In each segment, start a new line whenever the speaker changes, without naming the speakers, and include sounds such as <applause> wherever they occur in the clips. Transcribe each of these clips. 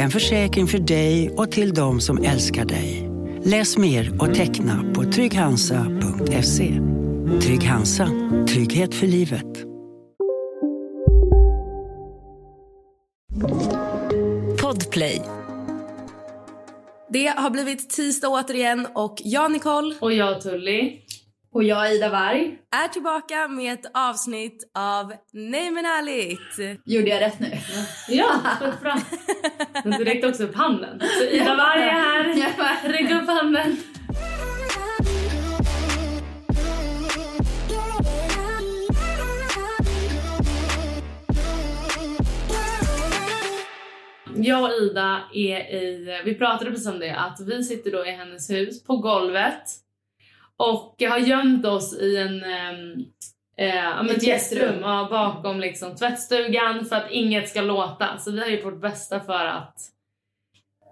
En försäkring för dig och till de som älskar dig. Läs mer och teckna på trygghansa.se. Trygg Hansa. Trygghet för livet.
Podplay.
Det har blivit tisdag återigen och jag Nicole
Och jag Tully.
Och jag Ida Varg.
är tillbaka med ett avsnitt av Nej men ärligt.
Gjorde jag rätt nu?
Ja, fullt bra. Men du räckte också upp handen. Så Ida Varg är här.
Jag bara,
Räck upp handen. Jag och Ida är i, vi pratade precis om det, att vi sitter då i hennes hus på golvet och har gömt oss i en ehm, eh, ja, men
Ett
ett
gästrum.
gästrum ja, bakom liksom, tvättstugan för att inget ska låta. Så vi har gjort vårt bästa för att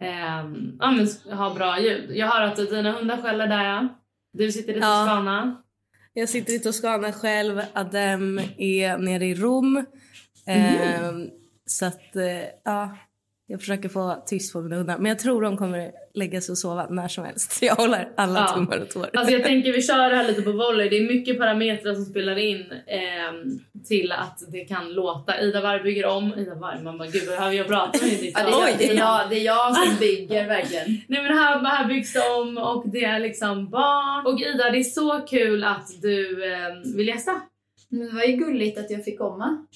ehm, ja, men, ha bra ljud. Jag hör att dina hundar skäller där ja. Du sitter
Ja.
i Toscana.
Jag sitter i Toscana själv, Adem är nere i Rom. Ehm, så att eh, ja, jag försöker få tyst på mina hundar. Men jag tror de kommer lägga sig och sova när som helst. Jag håller alla
Ja.
tummar och tår.
Alltså jag tänker vi kör det här lite på volley. Det är mycket parametrar som spelar in ehm, till att det kan låta. Ida Warg bygger om. Ida Warg, man bara gud vad har jag pratat med i ditt
Ja, det, är,
tal?
jag- det, är jag, det är jag som bygger verkligen.
Nej men här, här byggs det om och det är liksom barn. Och Ida det är så kul att du ehm, vill gästa.
Men det var ju gulligt att jag fick komma.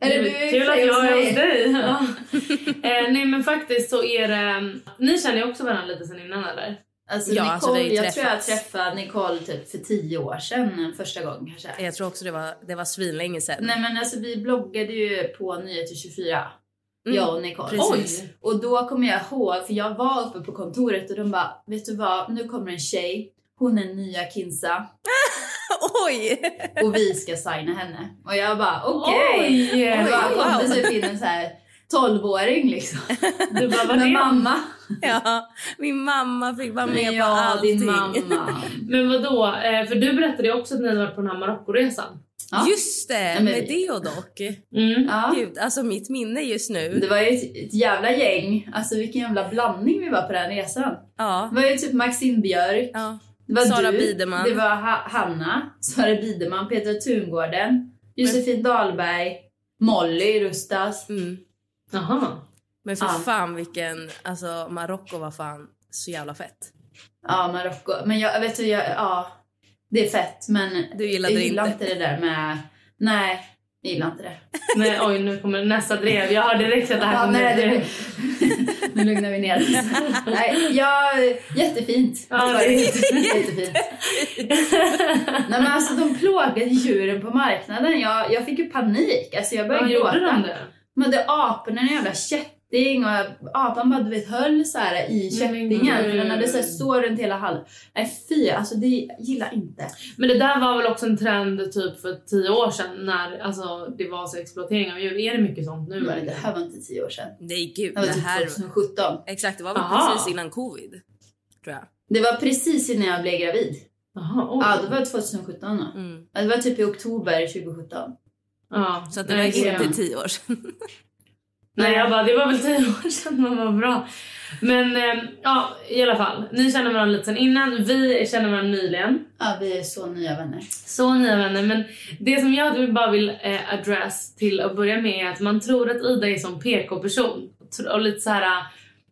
Det
Eller
är
du är ju
Kul att
fri
jag är
mig.
hos dig. Ja. <laughs> eh, nej men faktiskt så är det... Ni känner ju också varandra lite sen innan eller?
Alltså,
Ja,
Nicole,
alltså, vi har ju
jag tror jag
träffats.
träffade Nicole typ för tio år sedan första gången kanske.
Jag tror också det var, det var svinlänge sedan.
Nej men alltså vi bloggade ju på Nyheter 24.
Mm,
Jag och Nicole.
precis.
Oj!
Och då kommer jag ihåg, för jag var uppe på kontoret och de bara, vet du vad, nu kommer en tjej, hon är nya Kinsa
<laughs> Oj!
och vi ska signa henne. Och jag bara okej.
Oj!
Och Det bara kom
wow.
det typ in en så här 12-åring liksom.
Du bara, vad
Med
är
mamma. <laughs>
Ja, min mamma fick vara med på
Ja,
allting.
din mamma.
Men vad då? Eh, för du berättade ju också att ni hade varit på den här Marockoresan.
Ja.
Just det,
men
med
vi-
Deodoc.
Mm.
<laughs> Ja.
Gud, alltså mitt minne just
Det
nu.
var ju ett, ett jävla gäng. Alltså vilken jävla blandning vi var på den resan.
Ja.
Det var ju typ Maxine Björk,
ja.
det var
Sara
du,
Biderman.
det var ha- Hanna, Sara Biderman, Petra Tungården, Josefin Dahlberg, Molly Rustas.
Mm.
Jaha.
Men för
Ja.
fan vilken, alltså Marocko var fan så jävla fett.
Ja, Marocko. Men jag vet du, jag, ja. Det är fett men
Du gillade
jag
det
gillar
inte.
inte det där med... Nej, jag gillar inte det.
Nej, oj, nu kommer nästa drev. Jag hör direkt att det här
Ja,
kommer
nej,
ett drev.
det, <laughs> nu lugnar vi ner oss. Nej, ja, jättefint.
Ja, det är
jättefint. Nej, men alltså, de plågade djuren på marknaden. Jag, jag fick ju panik. Alltså, jag
Vad
började
gjorde
gråta.
de det?
De hade aporna, en jävla kätting och apan bara du vet, höll så här i
Nej, men
kättingen för
gud.
den hade så här sår runt hela halsen. Nej fy, alltså det gillar inte.
Men det där var väl också en trend typ för tio år sedan när alltså, det var så exploatering av djur. Är det mycket sånt nu?
Men det
verkligen?
här var inte tio år sedan.
Nej gud,
Det var
det
typ
här...
2017.
Exakt, det var väl
Aha.
precis innan covid. Tror jag.
Det var precis innan jag blev gravid.
Jaha, oj.
Ja, det var 2017 då.
Mm.
Ja, Det var typ i oktober 2017.
Ja,
Så att det
nej,
var
jag-
inte tio år sedan. <laughs>
Nej, jag bara, det var väl tio år sedan man var bra. Men ehm, ja, i alla fall. Ni känner varandra lite sen innan. Vi känner varandra nyligen.
Ja, vi är så nya vänner.
Så nya vänner, men det som jag bara vill eh, address till att börja med är att man tror att Ida är som PK-person. Tr- Och lite så här,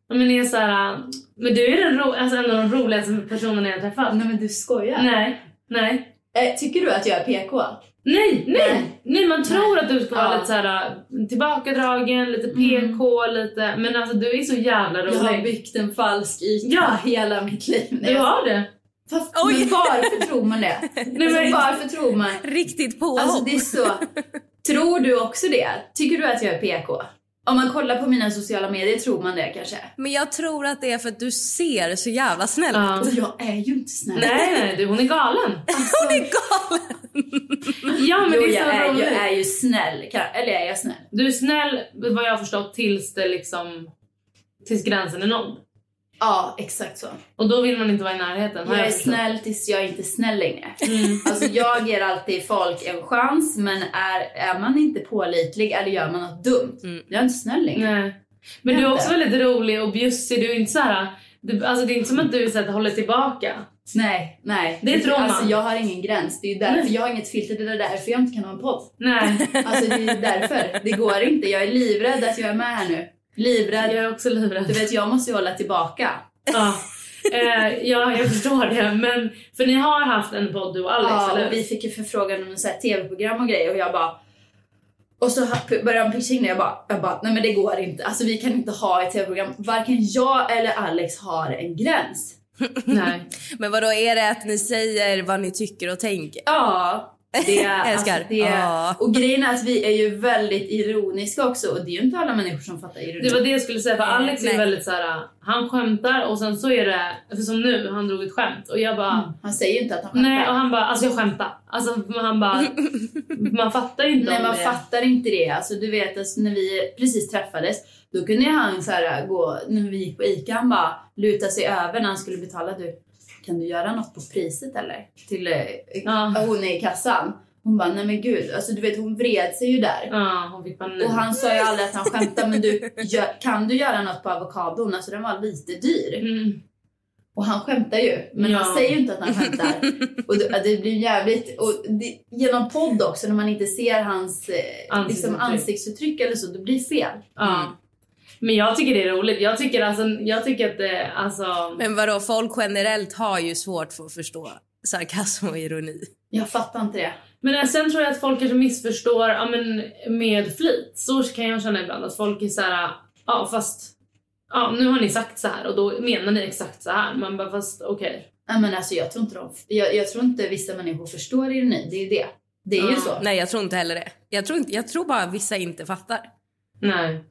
ja, men är så här, men du är den ro- alltså en av de roligaste personerna jag har träffat.
men du skojar?
Nej, nej.
Eh, tycker du att jag är PK?
Nej, nej!
Nej.
nej man tror att du ska vara
Ja. Mm.
lite så här tillbakadragen, lite PK, lite... Men alltså du är så jävla
Jag har
rolig.
byggt en falsk yta
Ja.
hela mitt liv. Nej,
Du har det.
Fast, men varför tror man det?
men-
alltså, varför tror man?
Riktigt påhopp.
Alltså det är så. Tror du också det? Tycker du att jag är PK? Om man kollar på mina sociala medier tror man det kanske.
Men jag tror att det är för att du ser så jävla snäll
<laughs>
ut.
Ja.
Och Alltså, jag är ju inte snäll.
Nej, nej, du, hon är galen.
Alltså,
Ja, men
jo,
det
jag,
är så
är,
roligt.
jag är ju snäll. Kan, eller är jag snäll?
Du är snäll, vad jag har förstått, tills det liksom... Tills gränsen är nådd.
Ja, exakt så.
Och då vill man inte vara i närheten. har
Jag är
förstått.
snäll tills jag inte är snäll längre. Alltså jag ger alltid folk en chans men är, är man inte pålitlig eller gör man något dumt, jag är inte snäll längre.
Nej. Men du är
Inte.
också väldigt rolig och bjussig. Du är inte så här... Du, alltså det är inte som att du är så här, håller tillbaka.
Nej, nej.
Det tror man.
Alltså jag har ingen gräns. Det är ju därför jag har inget filter. Det är därför jag inte kan ha en podd. <laughs>
Nej,
Alltså det är därför. Det går inte. Jag är livrädd att jag är med här nu.
jag
Livrädd.
är också livrädd.
Du vet jag måste ju hålla tillbaka.
Ja. Eh, ja, jag förstår det. Men, för ni har haft en podd, du och Alex,
Ja,
eller
och vi fick ju förfrågan om så här tv-program och grejer och jag bara och så ha- började han pitcha in det jag bara, jag bara, nej men det går inte. Alltså vi kan inte ha ett tv-program. Varken jag eller Alex har en gräns.
Nej.
Men vad då är det att ni säger vad ni tycker och tänker?
Ja, det <laughs> är...
Älskar.
Alltså, det
Ja.
är och grejen är att vi är ju väldigt ironiska också och det är ju inte alla människor som fattar ironi.
Det var det jag skulle säga, för Alex är
Nej.
väldigt så här. han skämtar och sen så är det, för som nu, han drog ett skämt och jag bara,
Han säger ju inte att han
nej och
skämtar.
han bara, alltså jag skämtar. Alltså
<laughs>
han bara, man fattar ju inte
Nej
om
man
det.
fattar inte det. Alltså du vet alltså, när vi precis träffades då kunde han så här gå, när vi gick på ICA han bara luta sig över när han skulle betala. Du, kan du göra något på priset eller? Till eh,
Ja.
hon i kassan. Hon bara nej men gud, alltså du vet hon vred sig ju där.
Ja, hon fick panik.
Och han sa ju aldrig att han skämtade men du gör, kan du göra något på avokadon? Alltså den var lite dyr.
Mm.
Och han skämtar ju, men
Ja.
han säger ju inte att han skämtar.
<laughs>
och det, det blir jävligt... Och det, genom podd också, när man inte ser hans eh,
Ansiktsuttryck.
Liksom ansiktsuttryck eller så, det blir fel. Mm.
Ja. Men jag tycker det är roligt. Jag tycker, alltså, jag tycker att det, alltså...
Men vad då folk generellt har ju svårt för att förstå sarkasm och ironi.
Jag fattar inte det.
Men sen tror jag att folk kanske missförstår ja, men med flit. Så kan jag känna ibland att folk är så här, ja fast ja, nu har ni sagt så här och då menar ni exakt så här. Man bara fast okej.
Nej, men alltså, jag, tror inte de, jag, jag tror inte vissa människor förstår ironi, det är ju det. Det är
Ja.
ju så.
Nej jag tror inte heller det. Jag tror, inte, jag tror bara vissa inte fattar.
Nej.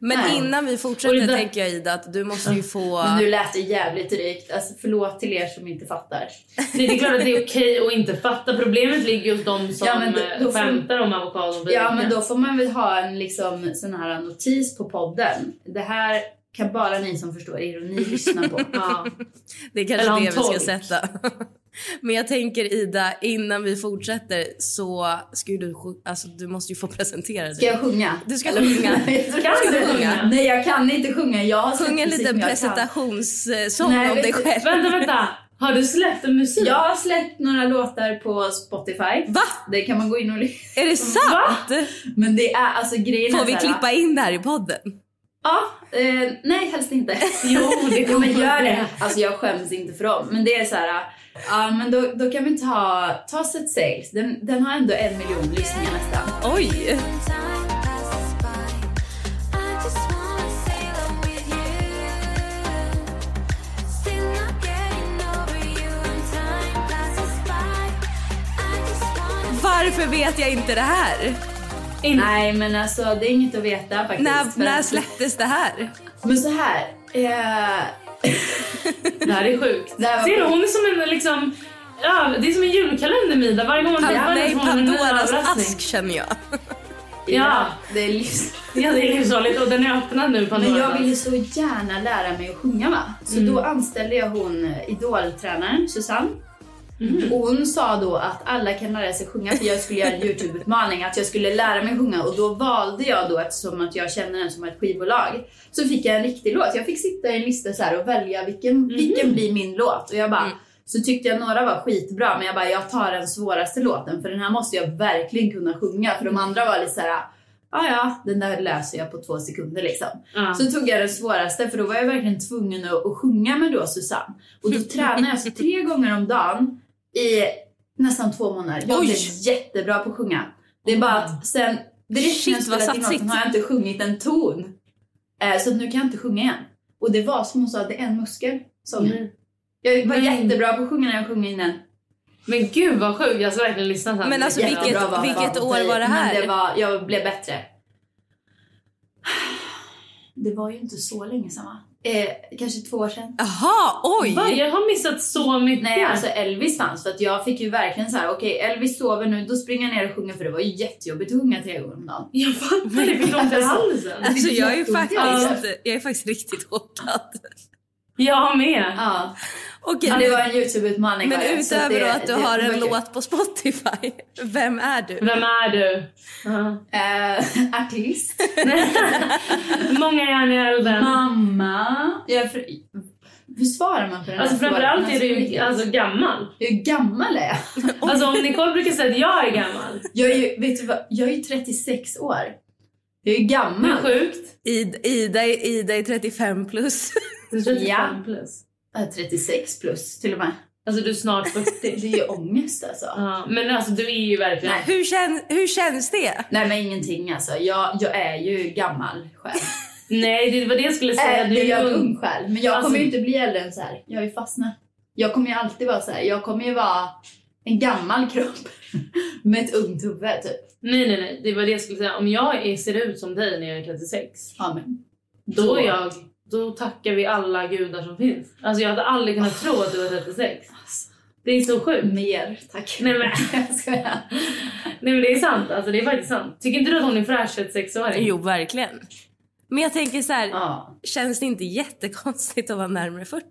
Men
Nej.
innan vi
Och det
fortsätter
där-
tänker jag Ida att du måste ju få...
Men nu lät det jävligt drygt. Alltså, förlåt till er som inte fattar.
Nej, det är klart att det är okej att inte fatta. Problemet ligger ju hos de som
Ja, men då-
eh,
då får-
skämtar om avokadon. och
Ja,
vinet.
men då får man väl ha en liksom, sån här notis på podden. Det här kan bara ni som förstår ironi lyssna
<laughs>
på.
Ja.
Det är
Eller
kanske
ha en
det vi ska
tolk.
sätta. <laughs> Men jag tänker Ida, innan vi fortsätter så ska ju du, sj- alltså, du måste ju få presentera
Ska
dig.
jag sjunga?
Du
<laughs>
ska sjunga.
<laughs>
kan
du sjunga?
Nej, jag kan inte sjunga. Jag har släppt
Sjung en
musik,
liten
men jag kan.
presentationssång
Nej,
om
vet
dig
du-
själv.
Vänta, vänta. Har du släppt en musik?
Jag har släppt några låtar på Spotify.
Va?
Det kan man gå in och lyssna.
Är det sant?
Men det är alltså grejen är
Får vi
så här-
klippa in det här i podden?
Ja. Eh, nej, helst inte.
Jo, det
Jo,
kommer
men gör det. Alltså jag skäms inte för dem. Men det är så här. Ja, men då, då kan vi ta, ta Set Sales. Den, den har ändå en miljon lyssningar nästan.
Oj! Varför vet jag inte det här?
Nej, men alltså det är inget att veta faktiskt.
När,
För
när
att-
släpptes det här?
Men så här. Eh, <laughs>
Det här är sjukt.
Det här var
Ser du,
sjukt.
hon är som en liksom... Ja, det är som en julkalender Mida. Varje gång man träffar henne
Nej,
får man en ny
Pandoras
överraskning.
ask känner jag.
Ja.
Det är lyssnat.
Ja, det är livsfarligt och den är öppnad nu Pandora.
Men jag ville så gärna lära mig att sjunga va. Så då anställde jag hon eh, idoltränaren Susanne. Och hon sa då att alla kan lära sig sjunga för jag skulle göra en Youtube-utmaning att jag skulle lära mig sjunga och då valde jag då eftersom att jag känner den som ett skivbolag så fick jag en riktig låt. Jag fick sitta i en lista så här och välja vilken, vilken blir min låt och jag bara så tyckte jag några var skitbra men jag bara jag tar den svåraste låten för den här måste jag verkligen kunna sjunga för de andra var lite så här ja ja den där löser jag på två sekunder liksom.
Ja.
Så tog jag den svåraste för då var jag verkligen tvungen
<laughs>
att, att sjunga med då Susanne. Och då tränade jag så tre gånger om dagen i nästan två månader. Jag blev jättebra på att sjunga. Det är bara att sen direkt när jag
Shit, vad
spelat in låten
satsigt.
har jag inte sjungit en ton. Eh, så att nu kan jag inte sjunga igen. Och det var som hon sa, det är en muskel. Som
Mm.
Jag var jättebra på att sjunga när jag sjöng in den.
Men gud vad sjukt, jag ska verkligen lyssna sen.
Men alltså,
Jättebra.
vilket-
Jättebra var
vilket
fan,
år var det här?
Men det var, jag blev bättre. Det var ju inte så länge sedan va? Eh, kanske två år sedan.
Jaha, oj!
Va,
<laughs>
jag har missat så mycket.
Nej, alltså Elvis fanns för att jag fick ju verkligen så här: okej Elvis sover nu, då springer jag ner och sjunger för det var ju jättejobbigt att sjunga tre gånger om dagen.
Jag fattar, det fick ont i halsen.
Alltså, jag, är
Ja.
faktiskt, jag är faktiskt riktigt chockad.
Jag med.
<laughs>
Ja,
Okej,
men det
nu,
var en Youtube-utmaning.
men
var det, så
utöver då
det-
att du
det-
har
det var
en
kul.
låt på Spotify, <laughs> vem är du?
Vem är du? Ja. <laughs>
Eh, <laughs> artist.
Många järn i elden.
Mamma. Jag är för... Hur svarar man på den här
Alltså framförallt
frågan?
är du ju alltså, gammal.
Hur gammal är jag?
Alltså om Nicole brukar säga att jag är gammal.
Jag är ju, vet du vad, jag är ju 36 år. Jag är ju
Det är
gammal.
sjukt.
Ida, Ida, är- Ida är 35 plus.
Du är 35
Ja.
plus.
Jag är 36 plus till och med.
Alltså du är snart 40.
Det, det är ju ångest alltså.
Ja, men alltså du är ju verkligen...
Nej.
<laughs> Hur, kän, hur känns det?
Nej men ingenting alltså. Jag, jag är ju gammal själv.
Nej, det var det jag skulle säga.
Äh,
du
det är
är
jag
ung.
ung själv. Men jag
Alltså-
kommer ju inte bli äldre än så här. Jag är ju fastnat. Jag kommer ju alltid vara så här. Jag kommer ju vara en gammal kropp. <laughs> med ett ungt huvud typ.
Nej, nej, nej. Det var det jag skulle säga. Om jag är, ser ut som dig när jag är 36,
Ja, men.
då, är jag, då tackar vi alla gudar som finns. Alltså jag hade aldrig kunnat tro att du var 36. Det är så sjukt.
Mer tack.
Nej, men-
<laughs> Jag skojar.
<laughs> Nej men det är sant, alltså det är faktiskt sant. Tycker inte du att hon är fräsch 36-åring?
Jo, verkligen. Men jag tänker så här,
Ja.
känns det inte jättekonstigt att vara närmare 40?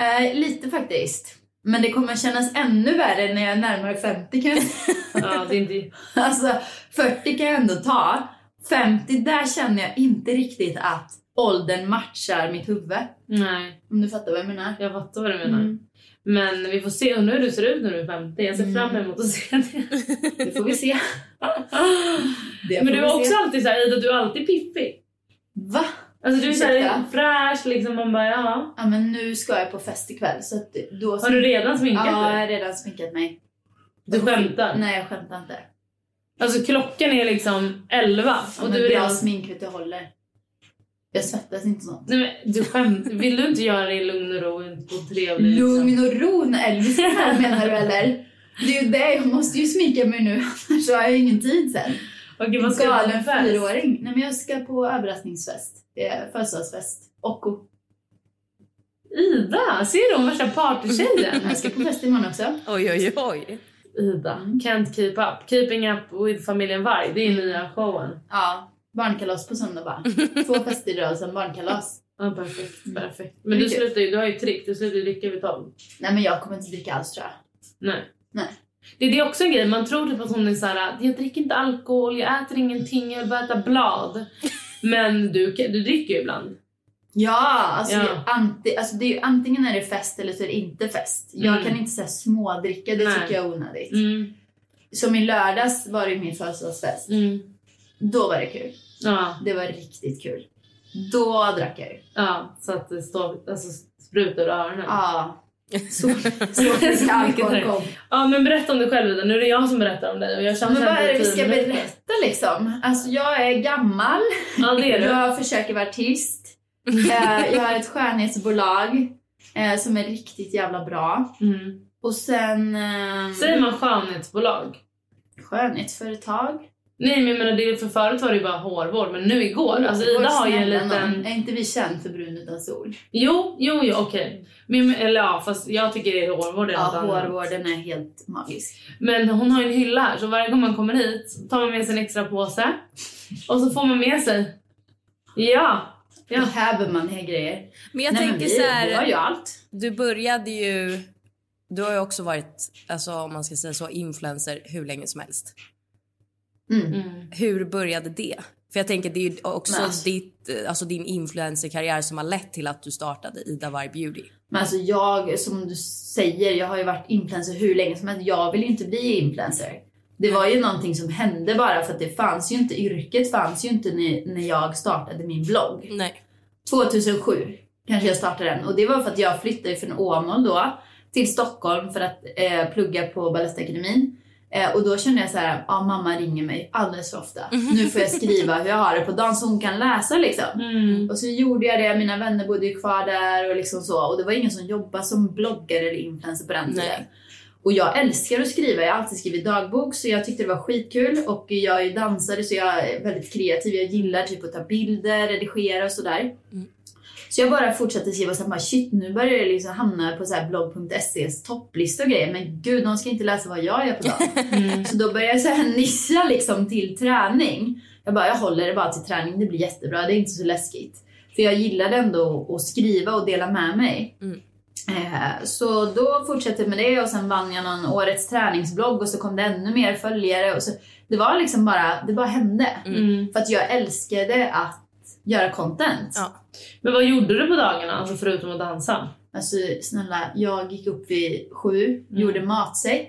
Eh, lite faktiskt. Men det kommer kännas ännu värre när jag är närmare 50 kan jag säga.
Ja, det är inte...
Alltså 40 kan jag ändå ta. 50, där känner jag inte riktigt att åldern matchar mitt huvud.
Nej,
Om du fattar vad jag menar.
jag fattar vad du menar. Men vi får se, undrar hur du ser ut när du är 50. Jag ser fram emot att se det.
Det får vi
<laughs>
se. Det får
Men du
vi
är också
se.
alltid såhär, Ida, du är alltid piffig.
Va?
Alltså du är såhär
Ursäkta?
fräsch liksom, man bara ja.
Ja men nu ska jag på fest ikväll så att då...
Har du redan sminkat
Ja, jag
dig?
har redan sminkat mig.
Du skämtar?
Nej, jag skämtar inte.
Alltså klockan är liksom 11
Ja,
och
men
du är
bra
redan...
smink vet du håller. Jag svettas inte sånt.
Nej, men, du skämt. Vill du inte göra det i lugn och ro och trevlig?
Lugn och ro när Elvis är här menar du eller? Det är ju det, jag måste ju sminka mig nu <laughs> annars har jag ju ingen tid sen.
Liksom? Okej, vad ska du ha för
Galen
fest?
fyraåring. Nej men jag ska på överraskningsfest. Det är Födelsedagsfest. Ocko.
Ida! Ser du hon värsta partytjejen?
<laughs> Jag ska på fest imorgon också.
Oj, oj, oj.
Ida.
Mm.
Can't keep up. Keeping up with familjen Varg. Det är nya showen.
Ja, barnkalas på söndag bara. Två fester idag och sen barnkalas.
Ja, perfekt, perfekt. Men
Mm.
du slutar ju, du har ju trick. Du slutar ju dricka vid tolv.
Nej men jag kommer inte dricka alls tror jag.
Nej.
Nej.
Det, det är också en grej. Man tror typ att hon är så här... Jag dricker inte alkohol, jag äter ingenting, jag bara äter
<laughs>
blad. Men du, kan- du dricker ju ibland.
Ja, alltså,
Ja.
Det, är anti, alltså det är ju antingen är det fest eller så är det inte fest. Jag
Mm.
kan inte säga smådricka, det
Nej.
tycker jag är onödigt.
Mm.
Som i lördags var det ju min födelsedagsfest.
Mm.
Då var det kul.
Ja,
Det var riktigt kul. Då drack jag ju.
ja, så att det står, alltså, sprutar ur öronen. Ja.
Ja. Så, så
<laughs>
frisk alkohol kom.
men berätta om dig själv Ida. Nu är det jag som berättar om dig. Och jag känner
Men vad
känner
är det vi
tio
ska
minuter.
berätta liksom? Alltså jag är gammal.
Ja, det är du.
Jag försöker vara artist. Eh, Jag har ett skönhetsbolag eh, som är riktigt jävla bra.
Mm.
Och sen... eh,
Säger man skönhetsbolag?
Skönhetsföretag.
Nej men jag menar, det är för förut var det ju bara hårvård men nu
Mm.
igår, alltså Ida har ju en
Snälla nån.
liten...
Är inte vi känd för brun utan sol?
Jo, jo, jo okej. Men- men- Eller ja, fast jag tycker det är hårvård eller
Ja,
något annat.
hårvården är helt magisk.
Men hon har ju en hylla här så varje gång man kommer hit tar man med sig en extra påse och så får man med sig... Ja! Ja.
Då häver man här grejer.
Men jag
Nej, men
tänker
vi,
så
vi har
här,
ju allt.
du började ju... Du har ju också varit, alltså om man ska säga så, influencer hur länge som helst.
Mm.
Mm.
Hur började det? För jag tänker det är ju också
Men alltså-
ditt, alltså din influencerkarriär som har lett till att du startade Ida Varg Beauty.
Men alltså jag, som du säger, jag har ju varit influencer hur länge som helst. Jag vill ju inte bli influencer. Det var ju någonting som hände bara för att det fanns ju inte, yrket fanns ju inte när, när jag startade min blogg.
Nej.
2007 kanske jag startade den och det var för att jag flyttade från Åmål då till Stockholm för att eh, plugga på Balettakademin. Eh, och då kände jag så här, ah, mamma ringer mig alldeles för ofta. Nu får jag skriva hur jag har det på dagen så hon kan läsa liksom.
Mm.
Och så gjorde jag det, mina vänner bodde ju kvar där och liksom så. Och det var ingen som jobbade som bloggare eller influencer på den tiden. Och jag älskar att skriva, jag har alltid skrivit dagbok så jag tyckte det var skitkul. Och jag är ju dansare så jag är väldigt kreativ, jag gillar typ att ta bilder, redigera och sådär. Så jag bara fortsatte skriva och sen bara shit nu börjar jag liksom hamna på så här blogg.ses topplista och grejer. Men gud, de ska inte läsa vad jag gör på dagen. Så då började jag så här nischa liksom till träning. Jag bara, jag håller det bara till träning, det blir jättebra, det är inte så läskigt. För jag gillade ändå att skriva och dela med mig. Eh, Så då fortsatte jag med det och sen vann jag någon årets träningsblogg och så kom det ännu mer följare. Och så, det var liksom bara, det bara hände.
Mm.
För att jag älskade att göra content.
Ja.
Men vad gjorde du på dagarna, alltså förutom att dansa?
Alltså snälla, jag gick upp vid sju, gjorde matsäck,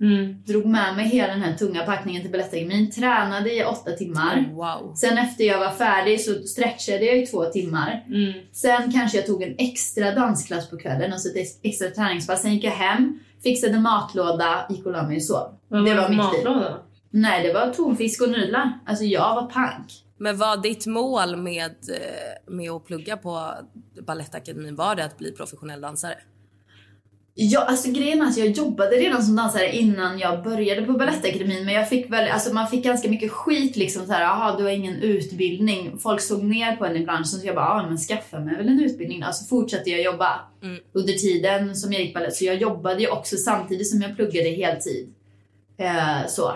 Mm.
drog med mig hela den här tunga packningen till Balettakademin, tränade i åtta timmar.
Wow.
Sen efter jag var färdig så stretchade jag i två timmar.
Mm.
Sen kanske jag tog en extra dansklass på kvällen, alltså ett ex- extra träningspass. Sen gick jag hem, fixade matlåda, gick och la mig och sov.
Vad
det
var
var
för
mitt liv.
matlåda?
Nej, det var tonfisk och nudlar. Alltså jag var pank.
Men vad ditt mål med, eh, med att plugga på Balettakademin var det att bli professionell dansare?
Ja, alltså grejen är att jag jobbade redan som dansare innan jag började på Balettakademin men jag fick väl, alltså man fick ganska mycket skit liksom såhär, jaha du har ingen utbildning. Folk såg ner på en i branschen så jag bara, ja men skaffa mig väl en utbildning Alltså fortsatte jag jobba
Mm.
under tiden som jag gick balett. Så jag jobbade ju också samtidigt som jag pluggade heltid. Eh, så.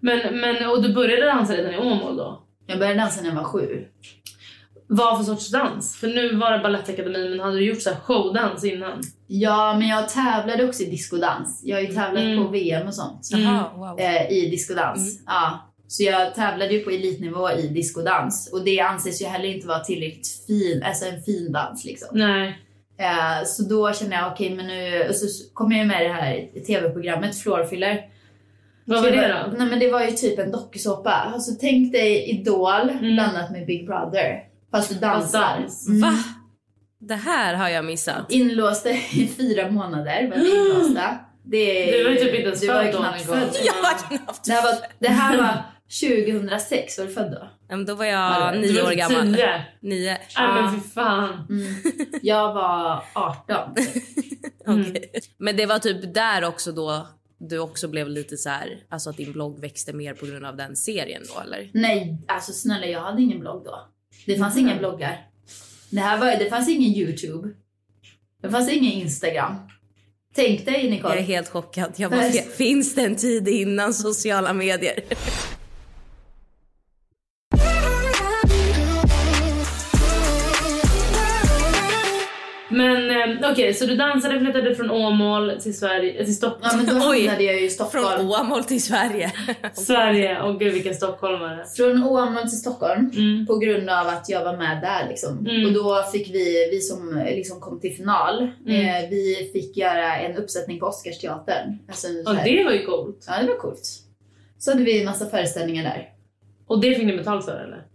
Men, men, och du började dansa redan i Åmål då?
Jag började dansa när jag var sju.
Vad för sorts dans? För nu var det Balettakademin, men hade du gjort så här showdans innan?
Ja, men jag tävlade också i diskodans. Jag har ju tävlat
Mm.
på VM och sånt.
Jaha, wow.
eh, i diskodans. Ja. Så jag tävlade ju på elitnivå i diskodans och det anses ju heller inte vara tillräckligt fin, alltså en fin dans liksom.
Nej.
Eh, så då kände jag okej, men nu, och så kom jag ju med i det här tv-programmet Floorfiller.
Vad var det då?
Nej men det var ju typ en dokusåpa. Alltså tänk dig Idol blandat med Big Brother. Fast du dansar.
Mm. dans.
Mm.
Va? Det här har jag missat.
Inlåsta i fyra månader
<gasps>
var vi inlåsta. Det, är-
Du var ju typ inte ens
du var ju
född då,
knappt
Nicole.
född.
<laughs> Jag var knappt...
Det här var, det här var 2006, var du född då?
Nej, men Då var
Ja,
jag
det-
Du
nio
var
år
typ
gammal.
tio.
Nio.
Nej
Ja.
men fy fan.
Mm. Jag var 18.
Men det var typ där också då du också blev lite så här, alltså att din blogg växte mer på grund av den serien då eller?
Nej, alltså snälla jag hade ingen blogg då. Det fanns
Mm.
inga bloggar. Det, här var, det fanns ingen Youtube. Det fanns ingen Instagram. Tänk dig
Jag är
Nicole.
helt chockad. Jag bara,
Först-
finns det en tid innan sociala medier?
Men eh, okej, så du dansade, flyttade från Åmål till Sverige, eh, till Stockholm.
Ja men
<laughs>
då
Oj.
hamnade jag ju i
Från
Stockholm.
Åmål till Sverige.
Sverige, åh gud vilken stockholmare.
Från Åmål till Stockholm.
Mm.
På grund av att jag var med där liksom.
Mm.
Och då fick vi, vi som eh, liksom kom till final,
Mm.
eh, vi fick göra en uppsättning på Oscarsteatern. Alltså, en så
Och
här-
det var ju coolt.
Ja det var coolt. Så hade vi en massa föreställningar där.
Och det fick ni betalt för eller?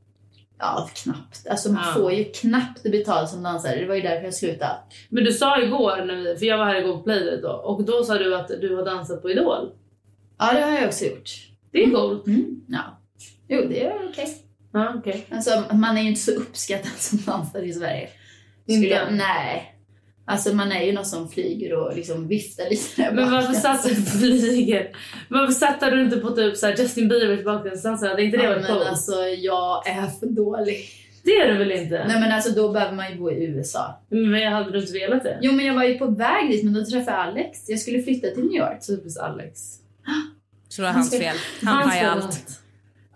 Ja, knappt. Alltså man
Ja.
får ju knappt betalt som dansare. Det var ju därför jag slutade.
Men du sa igår, när vi, för jag var här igår på Playdate då, och då sa du att du har dansat på Idol.
Ja, det har jag också gjort.
Det är coolt.
Mm. Ja. Jo, det är okej.
Ja, okej.
Alltså, man är ju inte så uppskattad <laughs> som dansare i Sverige.
Inte?
jag, nej. Alltså man är ju någon som flyger och liksom viftar lite där
Men
bak.
varför satsar du flyger? Varför satsar du inte på typ så här Justin Biebers bakgrundsdansare? Hade inte det
Ja,
varit
men
coolt?
alltså jag är för dålig.
Det är du väl inte?
Nej men alltså då behöver man ju bo i USA.
Men jag hade du inte velat det?
Jo men jag var ju på väg dit men då träffade jag Alex. Jag skulle flytta till New York.
Typiskt Alex.
Så det var hans fel. Han
Hans
pajade
fel.
allt.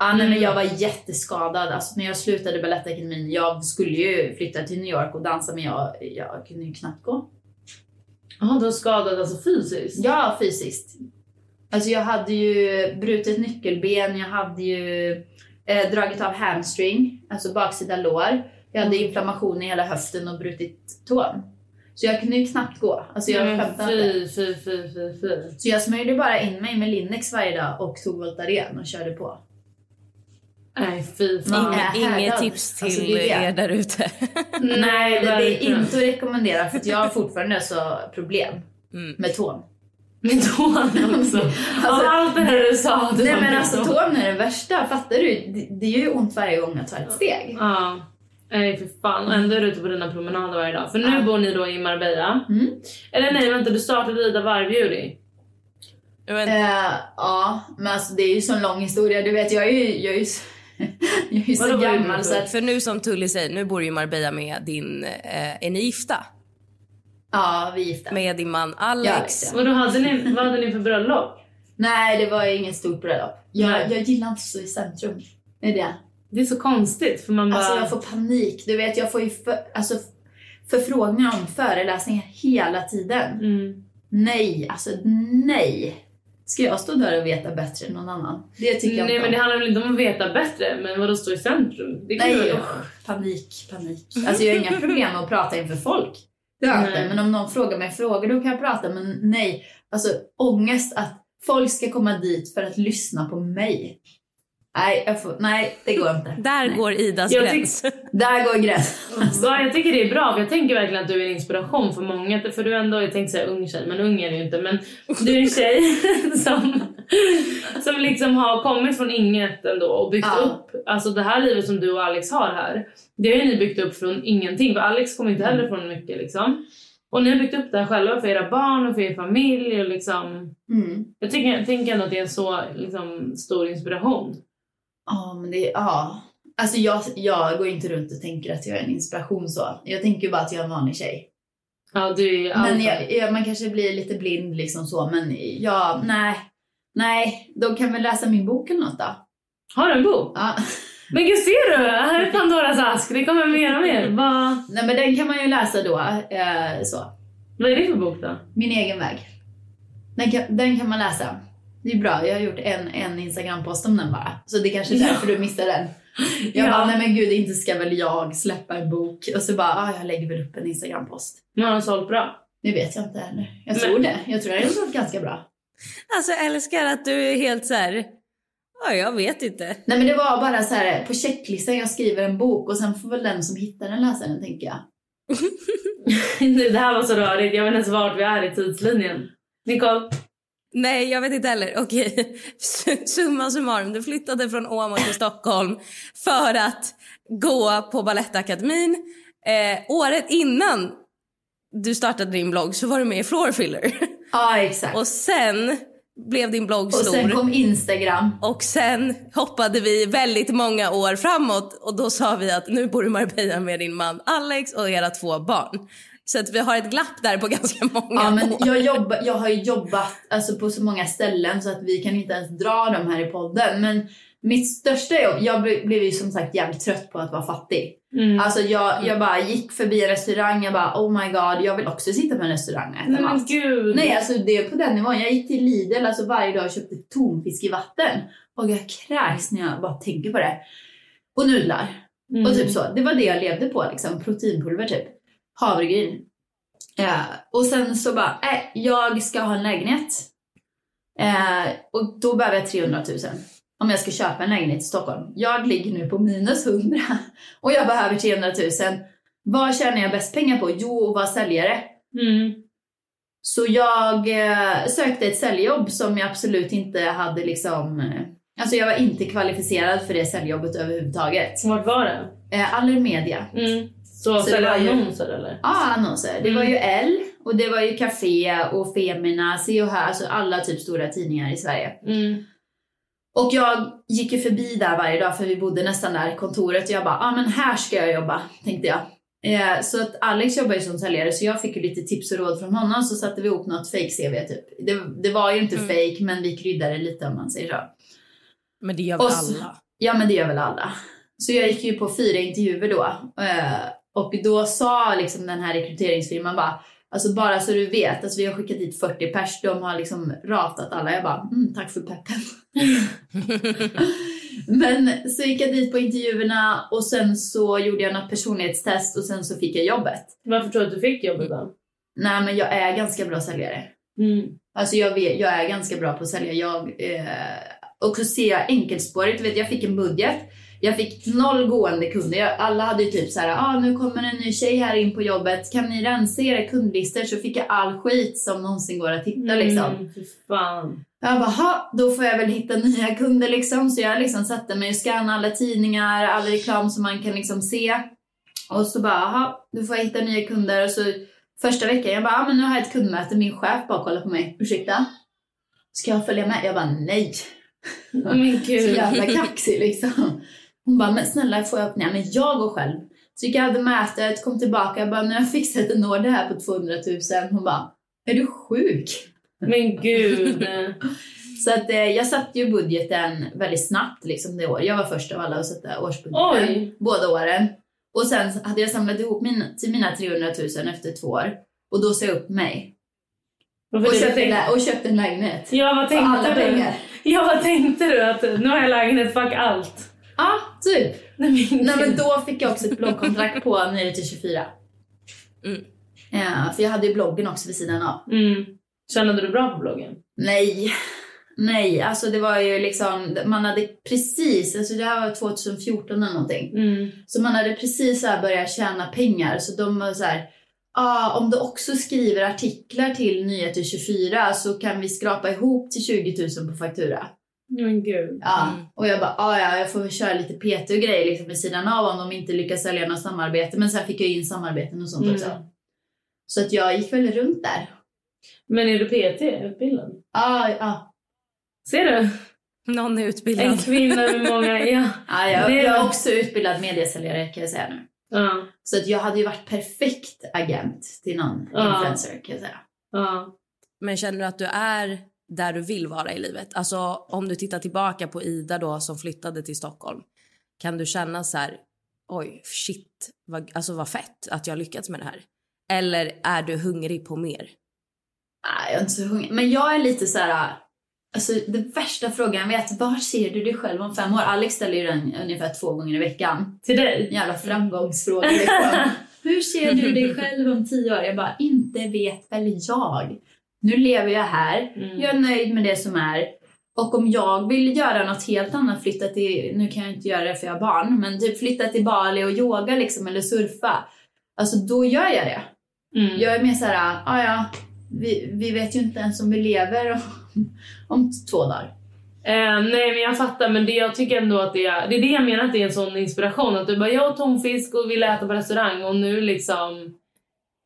Ja, nej, men
Mm.
jag var jätteskadad. Alltså, när jag slutade Balettakademin, jag skulle ju flytta till New York och dansa men jag, jag kunde ju knappt gå.
Jaha, du har skadat alltså fysiskt?
Ja, fysiskt. Alltså jag hade ju brutit nyckelben, jag hade ju eh, dragit av hamstring, alltså baksida lår. Jag hade inflammation i hela höften och brutit tån. Så jag kunde ju knappt gå. Alltså jag
Nej, men
skämtar inte.
fy, fy, fy, fy, fy.
Så jag smörjde bara in mig med Lindex varje dag och tog Voltaren och körde på.
Nej, fy fan.
Nej.
Inge-
Ja,
Inget
härad.
tips till
Alltså, det är det.
er där ute.
Nej, det, det är
verkligen. <laughs>
inte att rekommendera för att jag har fortfarande så problem. Mm. Med tån.
Min tån också. Av allt det här du sa. det
Alltså, Nej
var
men
min
alltså
tå.
tån är det värsta, fattar du? Det, det gör ju ont varje gång jag tar ett steg.
Ja. Nej för fan. Och ändå är du ute på dina promenader varje dag. För nu
Ja.
bor ni då i Marbella.
Mm.
Eller nej vänta, du startade rida varvjuli.
Eh, ja, men alltså det är ju så lång historia. Du vet, jag är ju, jag är ju, så- <laughs> jag är ju
Vadå,
så
vad är det
gammal
för-
så att...
För nu som Tully säger, nu bor du i Marbella med din... Eh, är ni gifta?
Ja, vi är gifta.
Med din man
Ja,
Alex.
liksom.
Och då hade ni, vad hade ni för bröllop?
Nej, det var ju ingen stort bröllop. Jag,
Nej.
jag gillar inte att stå i centrum. Det är det.
Det är så konstigt för man bara...
Alltså jag får panik. Du vet, jag får ju för, alltså, förfrågningar om föreläsningar hela tiden.
mm.
Nej, alltså nej. Ska jag stå där och veta bättre än någon annan? Det tycker jag
Nej
inte
men det
om.
handlar väl inte om att veta bättre, men vadå stå i centrum? Det kan du väl
Nej,
göra.
usch, panik, panik. Alltså jag har inga problem med att prata inför folk. Det har jag inte.
Nej.
Men om någon frågar mig frågor då kan jag prata. Men nej, alltså ångest att folk ska komma dit för att lyssna på mig. Nej, jag får, nej det går inte.
Där
Nej.
går Idas
Jag
gräns.
Där går gränsen.
Ja, jag tycker det är bra, för jag tänker verkligen att du är en inspiration för många. För du är ändå, jag tänkte säga ung tjej, men ung är du ju inte. Men du är en tjej <laughs> som, som liksom har kommit från inget ändå och byggt
Ja.
upp. Alltså det här livet som du och Alex har här, det har ju ni byggt upp från ingenting. För Alex kommer inte heller från mycket liksom. Och ni har byggt upp det här själva för era barn och för er familj och liksom.
Mm.
Jag tycker, jag tänker ändå att det är en så liksom, stor inspiration.
Ja, men det... Ja. Alltså jag, jag går inte runt och tänker att jag är en inspiration så. Jag tänker ju bara att jag är en vanlig tjej.
Ja, du är ju allt.
Men jag, jag, man kanske blir lite blind liksom så, men jag... Nej. Nej, de kan väl läsa min bok eller något då.
Har du en bok?
Ja.
Men gud ser du? Här är Pandoras ask. Det kommer mer och mer. Vad...
Nej, men den kan man ju läsa då. Eh, så.
Vad är det för bok då?
Min egen väg. Den kan, den kan man läsa. Det är bra, jag har gjort en, en Instagram-post om den bara. Så det kanske är
Ja.
därför du missade den. Jag
Ja.
bara, nej men gud, inte ska väl jag släppa en bok? Och så bara, ah, jag lägger väl upp en Instagram-post.
Nu har de sålt bra. <laughs>
Det vet jag inte heller. Jag
Men-
tror det. Jag tror det har gått ganska bra.
Alltså jag älskar att du är helt så här... Ja, jag vet inte.
Nej men det var bara så här på checklistan, jag skriver en bok och sen får väl den som hittar den läsa den tänker jag.
Nu, det här var så rörigt. Jag vet inte ens vart vi är i tidslinjen. Nicole,
Nej, jag vet inte heller. Okej, <laughs> summa summarum. Du flyttade från Åmål till Stockholm för att gå på Balettakademin. Eh, året innan du startade din blogg så var du med i Floorfiller.
Ja exakt. Och,
<laughs> Och sen blev din blogg stor.
sen kom Instagram.
Och sen hoppade vi väldigt många år framåt och då sa vi att nu bor du i Marbella med din man Alex och era två barn. Så att vi har ett glapp där på <laughs> ganska många
Ja, men
år.
jag, jobba, jag har ju jobbat alltså, på så många ställen så att vi kan inte ens dra dem här i podden. Men mitt största jobb, jag ble- blev ju som sagt jävligt trött på att vara fattig.
Mm.
Alltså jag, jag bara gick förbi en restaurang, jag bara oh my god, jag vill också sitta på en restaurang och äta
Nej
mat.
men gud.
Nej, alltså det är på den nivån. Jag gick till Lidl alltså varje dag och köpte tonfisk i vatten. Och jag kräks när jag bara tänker på det. Och nudlar.
Mm.
Och typ så. Det var det jag levde på liksom. Proteinpulver typ. Havregryn. Ja. Och sen så bara, äh, jag ska ha en lägenhet. Eh, och då behöver jag 300 000. Om jag ska köpa en lägenhet i Stockholm. Jag ligger nu på minus 100. <laughs> Och jag behöver 300 000. Vad tjänar jag bäst pengar på? Jo, att vara säljare.
Mm.
Så jag eh, sökte ett säljjobb som jag absolut inte hade liksom... Eh, alltså jag var inte kvalificerad för det säljjobbet överhuvudtaget.
Vart var det?
Eh, Allermedia. Ja,
Mm. Så,
Så det
sälja
var ju-
annonser eller?
annonser. Det var ju L och det var ju Café och Femina, Se och Hör, alltså alla typ stora tidningar i Sverige.
Mm.
Och jag gick ju förbi där varje dag för vi bodde nästan där, kontoret. Och jag bara, ja ah, men här ska jag jobbar, tänkte jag. Eh, så att Alex jobbar ju som säljare så jag fick ju lite tips och råd från honom så satte vi ihop något fake CV typ. Det, det var ju inte fake men vi kryddade lite om man säger så.
Men det gör väl
Och så-
alla?
Ja men det gör väl alla. Så jag gick ju på fyra intervjuer då. Eh, Och då sa liksom den här rekryteringsfirman bara, alltså bara så du vet, alltså vi har skickat dit 40 pers, de har liksom ratat alla. Jag bara, mm, tack för peppen. men så gick jag dit på intervjuerna och sen så gjorde jag något personlighetstest och sen så fick jag jobbet.
Varför tror du att du fick jobbet då?
Nej men jag är ganska bra säljare.
Mm.
Alltså jag, vet, jag är ganska bra på att sälja. Jag, eh, och så ser jag enkelspårigt. Du Vet, jag fick en budget. Jag fick noll gående kunder. Jag, alla hade ju typ så här, ah, nu kommer en ny tjej här in på jobbet. Kan ni rensa era kundlistor så fick jag all skit som någonsin går att hitta liksom.
Mm, fy fan.
Jag bara, "Ha, då får jag väl hitta nya kunder liksom. Så jag liksom satte mig och scannade alla tidningar, all reklam som man kan liksom se. Och så bara, aha, nu får jag hitta nya kunder. Och så första veckan, jag bara, ah, men nu har jag ett kundmöte. Min chef bara kollar på mig, ursäkta? Ska jag följa med? Jag bara, nej.
Men
Så
gud.
jävla kaxig liksom. Hon bara, men snälla får jag upp? Nej, men jag går själv. Så gick jag hade mötet, kom tillbaka, jag bara, nu har jag fixat en order här på 200 000. Hon bara, är du sjuk?
Men gud.
Så att, eh, jag satte ju budgeten väldigt snabbt liksom, det år. Jag var först av alla att sätta årsbudgeten.
Oj.
Båda åren. Och sen hade jag samlat ihop min, till mina 300 000 efter två år. Och då sa jag upp mig.
<laughs> Varför
Och
du
köpte, en
tänkte-
lä- och köpte en lägenhet.
Ja, vad
För alla
tänkte du?
pengar.
Ja, vad tänkte du? Att nu har jag lägenhet, fuck allt.
Ja, typ.
Nej, men gud.
Nej, men då fick jag också ett bloggkontrakt på 9 till 24.
Mm.
Ja, för jag hade ju bloggen också vid sidan av.
Mm. Tjänade du bra på bloggen?
Nej. Nej, alltså det var ju liksom, man hade precis, alltså det här var 2014 eller någonting.
Mm.
Så man hade precis så här börjat tjäna pengar. Så de var så här, ah, om du också skriver artiklar till Nyheter 24 så kan vi skrapa ihop till 20 000 på faktura.
Men gud.
Ja. Och jag bara, ah, ja, jag får väl köra lite PT och grejer liksom vid sidan av om de inte lyckas sälja något samarbete. Men sen fick jag ju in samarbeten och sånt
Mm.
också. Så att jag gick väl runt där.
Men är du PT-utbildad?
Ah, ja,
Ser du?
Någon är
En
utbildad.
kvinna med många... Ja.
ah, jag,
Det är-
jag är också utbildad mediesäljare kan jag säga nu.
Ja.
Så att jag hade ju varit perfekt agent till någon
Ja.
influencer kan jag säga.
ja.
Men känner du att du är där du vill vara i livet? Alltså om du tittar tillbaka på Ida då som flyttade till Stockholm. Kan du känna så här, oj shit, vad, alltså vad fett att jag lyckats med det här. Eller är du hungrig på mer?
Nej, Ah, jag är inte så hungrig. Men jag är lite så här... Alltså, den värsta frågan jag vet, var ser du dig själv om fem år? Alex ställer ju den ungefär två gånger i veckan.
Till dig?
En jävla framgångsfråga. Liksom.
<laughs>
Hur ser du dig själv om tio år? Jag bara, inte vet väl jag. Nu lever jag här.
Mm.
Jag är nöjd med det som är. Och om jag vill göra något helt annat, flytta till, nu kan jag inte göra det för jag har barn, men typ flytta till Bali och yoga liksom, eller surfa. Alltså då gör jag det.
Mm.
Jag är mer så här, ah, ja, vi, vi vet ju inte ens om vi lever om, om två dagar.
Eh, nej men jag fattar men det, jag tycker ändå att det är, det är det jag menar att det är en sån inspiration att du bara jag åt tonfisk och ville äta på restaurang och nu liksom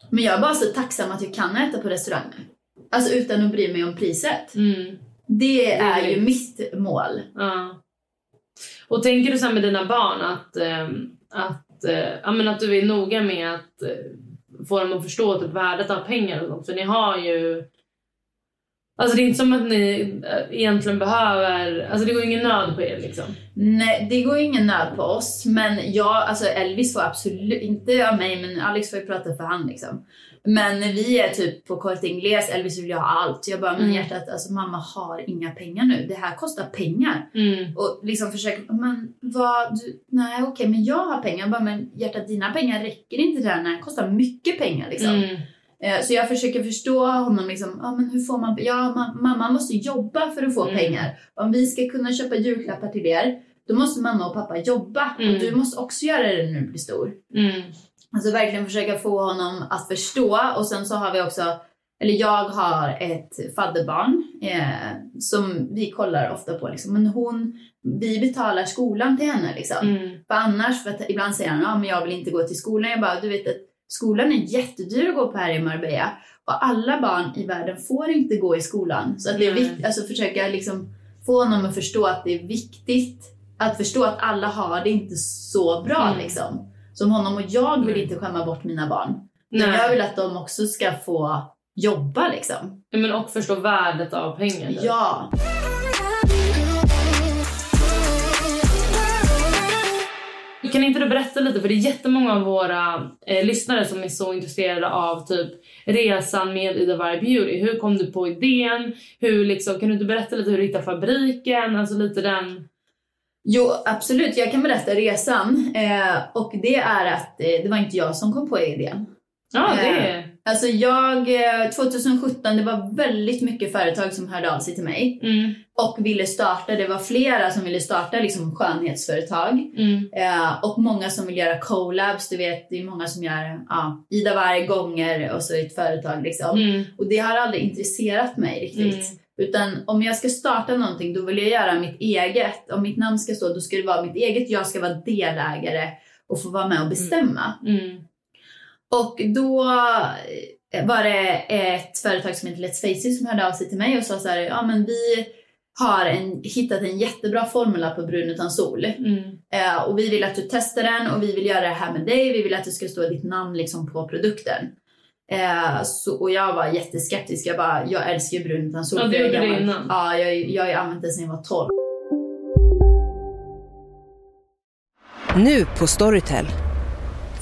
Men jag är bara så tacksam att jag kan äta på restaurang nu. Alltså utan att bry mig om priset.
mm,
Det är
Mm.
ju mitt mål.
ja. Och tänker du sen med dina barn att, ehm, att, eh, ja, men att du är noga med att eh, få dem att förstå typ värdet av pengar och sånt för ni har ju Alltså det är inte som att ni eh, egentligen behöver, alltså det går ju ingen nöd på er liksom.
Nej, det går ju ingen nöd på oss. Men jag, alltså Elvis får absolut, inte av mig, men Alex får ju prata för han liksom. Men när vi är typ på Corte Inglés, Elvis vill ju ha allt. Jag bara, men
Mm.
hjärtat, alltså mamma har inga pengar nu. Det här kostar pengar.
Mm.
Och liksom försöker, men vad, du, nej okej men jag har pengar. Jag bara, men hjärtat dina pengar räcker inte till det här när det kostar mycket pengar liksom.
Mm.
Eh, Så jag försöker förstå honom liksom, ja men hur får man, ja ma- mamma måste jobba för att få
Mm.
pengar. Om vi ska kunna köpa julklappar till er, då måste mamma och pappa jobba.
Mm.
Och du måste också göra det när du blir stor.
Mm.
Alltså verkligen försöka få honom att förstå. Och sen så har vi också, eller jag har ett fadderbarn eh, som vi kollar ofta på. Liksom. Men hon, vi betalar skolan till henne. Liksom.
Mm.
För annars, för att ibland säger han, ja men jag vill inte gå till skolan. Jag bara, du vet att skolan är jättedyr att gå på här i Marbella. Och alla barn i världen får inte gå i skolan. Så att det är
Nej.
viktigt, alltså försöka liksom få honom att förstå att det är viktigt att förstå att alla har det inte så bra
Mm.
liksom. Som honom och jag vill inte skämma bort mina barn. Men jag
Nej.
vill att de också ska få jobba liksom.
Men och förstå värdet av pengar. typ.
Ja.
Kan inte du berätta lite, för det är jättemånga av våra eh, lyssnare som är så intresserade av typ resan med Ida Varg Beauty. Hur kom du på idén? Hur liksom, kan du inte berätta lite hur du hittade fabriken? Alltså lite den...
Jo, absolut. Jag kan berätta resan. Eh, och det är att eh, det var inte jag som kom på idén.
Ja, det är...
Alltså jag, eh, 2017, det var väldigt mycket företag som hörde av sig till mig
Mm,
och ville starta. Det var flera som ville starta liksom skönhetsföretag
mm,
eh, och många som vill göra collabs. Du vet, det är många som gör ja, Ida varje gånger och så ett företag liksom.
mm,
Och det har aldrig intresserat mig riktigt.
Mm.
Utan om jag ska starta någonting då vill jag göra mitt eget. Om mitt namn ska stå då ska det vara mitt eget. Jag ska vara delägare och få vara med och bestämma.
mm,
Och då eh, var det ett företag som heter Let's Faces som hörde av sig till mig och sa så här, ja men vi har en, hittat en jättebra formula på brun utan sol.
mm,
Eh, och vi vill att du testar den och vi vill göra det här med dig. Vi vill att det ska stå ditt namn liksom på produkten. Eh, så, och jag var jätteskeptisk. Jag bara, jag älskar ju brun utan sol.
Ja, du
för jag är
gjorde det
gammal.
innan.
Ja, jag, jag har ju använt det sedan jag var 12.
Nu på Storytel.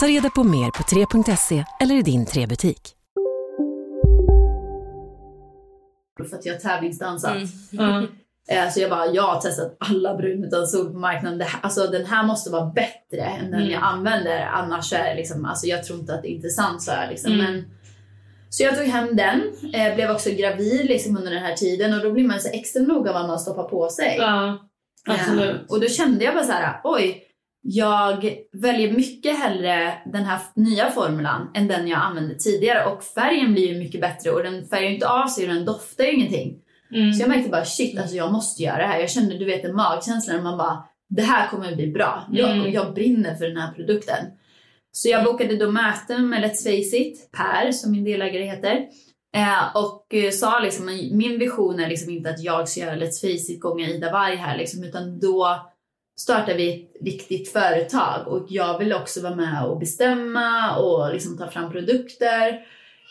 Ta reda på mer på 3.se eller i din 3-butik.
För att jag har tävlingsdansat.
ja,
Eh, Så jag bara, jag har testat alla brun utan sol på marknaden. Det här, alltså, den här måste vara bättre än den
Mm.
jag använder. Annars är det liksom, alltså, jag tror inte att det är intressant. Så, här, liksom.
Mm.
Men, så jag tog hem den. Eh, blev också gravid liksom, under den här tiden. Och då blir man så extra noga vad man stoppar på sig.
ja, absolut.
Eh, Och då kände jag bara så här, oj. Jag väljer mycket hellre den här nya formulan än den jag använde tidigare. Och färgen blir ju mycket bättre och den färgar ju inte av sig och den doftar ju ingenting.
Mm.
Så jag märkte bara shit, alltså jag måste göra det här. Jag kände du vet den magkänslan när man bara det här kommer att bli bra. Jag,
Mm.
jag brinner för den här produkten. Så jag bokade då möten med Let's Face It, Per som min delägare heter. Eh, och eh, sa liksom "Men min vision är liksom inte att jag ska göra Let's Face It gånger Ida Varg här liksom, utan då startar vi ett riktigt företag och jag vill också vara med och bestämma och liksom ta fram produkter.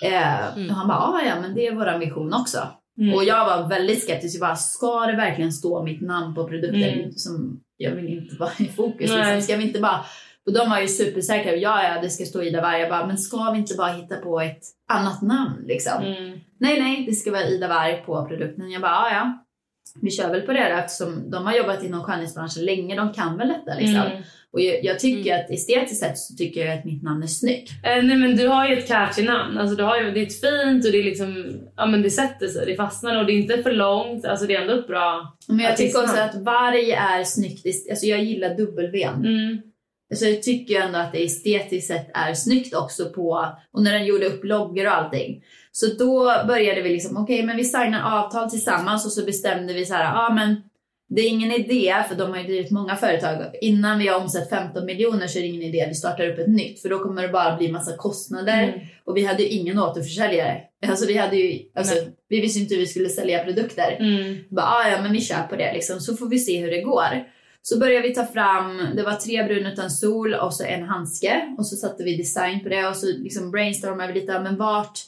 Eh, Och han bara, "Ah, ja men det är vår vision också.
Mm.
Och jag var väldigt skeptisk. Jag bara, ska det verkligen stå mitt namn på produkten?
Mm.
Som jag vill inte vara i fokus.
Nej.
Liksom. Ska vi inte bara... Och de var ju supersäkra. Ja, ja, det ska stå Ida Warg. Jag bara, men ska vi inte bara hitta på ett annat namn liksom?
Mm.
Nej, nej, det ska vara Ida Warg på produkten. Jag bara, ja, ja. Vi kör väl på det då, eftersom de har jobbat inom skönhetsbranschen länge. De kan väl detta liksom.
Mm.
Och jag, jag tycker att estetiskt sett så tycker jag att mitt namn är snyggt.
Eh, nej men du har ju ett catchy namn. Alltså, du har ju, det är ett fint och det är liksom, ja men det sätter sig, det fastnar och det är inte för långt. Alltså det är ändå ett bra...
Men jag tycker också
Artistnamn.
att varg är snyggt. est- Alltså jag gillar W.
Mm.
Så jag tycker ju ändå att det estetiskt sett är snyggt också på, och när den gjorde upp loggor och allting. Så då började vi liksom, okej men vi signar avtal tillsammans och så bestämde vi så här, ja ah, men det är ingen idé, för de har ju drivit många företag. Innan vi har omsatt 15 miljoner så är det ingen idé att vi startar upp ett nytt, för då kommer det bara bli massa kostnader.
Mm.
Och vi hade ju ingen återförsäljare. Alltså vi hade ju, alltså, vi visste ju inte hur vi skulle sälja produkter.
Mm.
Bara, ah, ja, men vi kör på det liksom, så får vi se hur det går. Så började vi ta fram, det var tre brun utan sol och så en handske och så satte vi design på det och så liksom brainstormade vi lite, men vart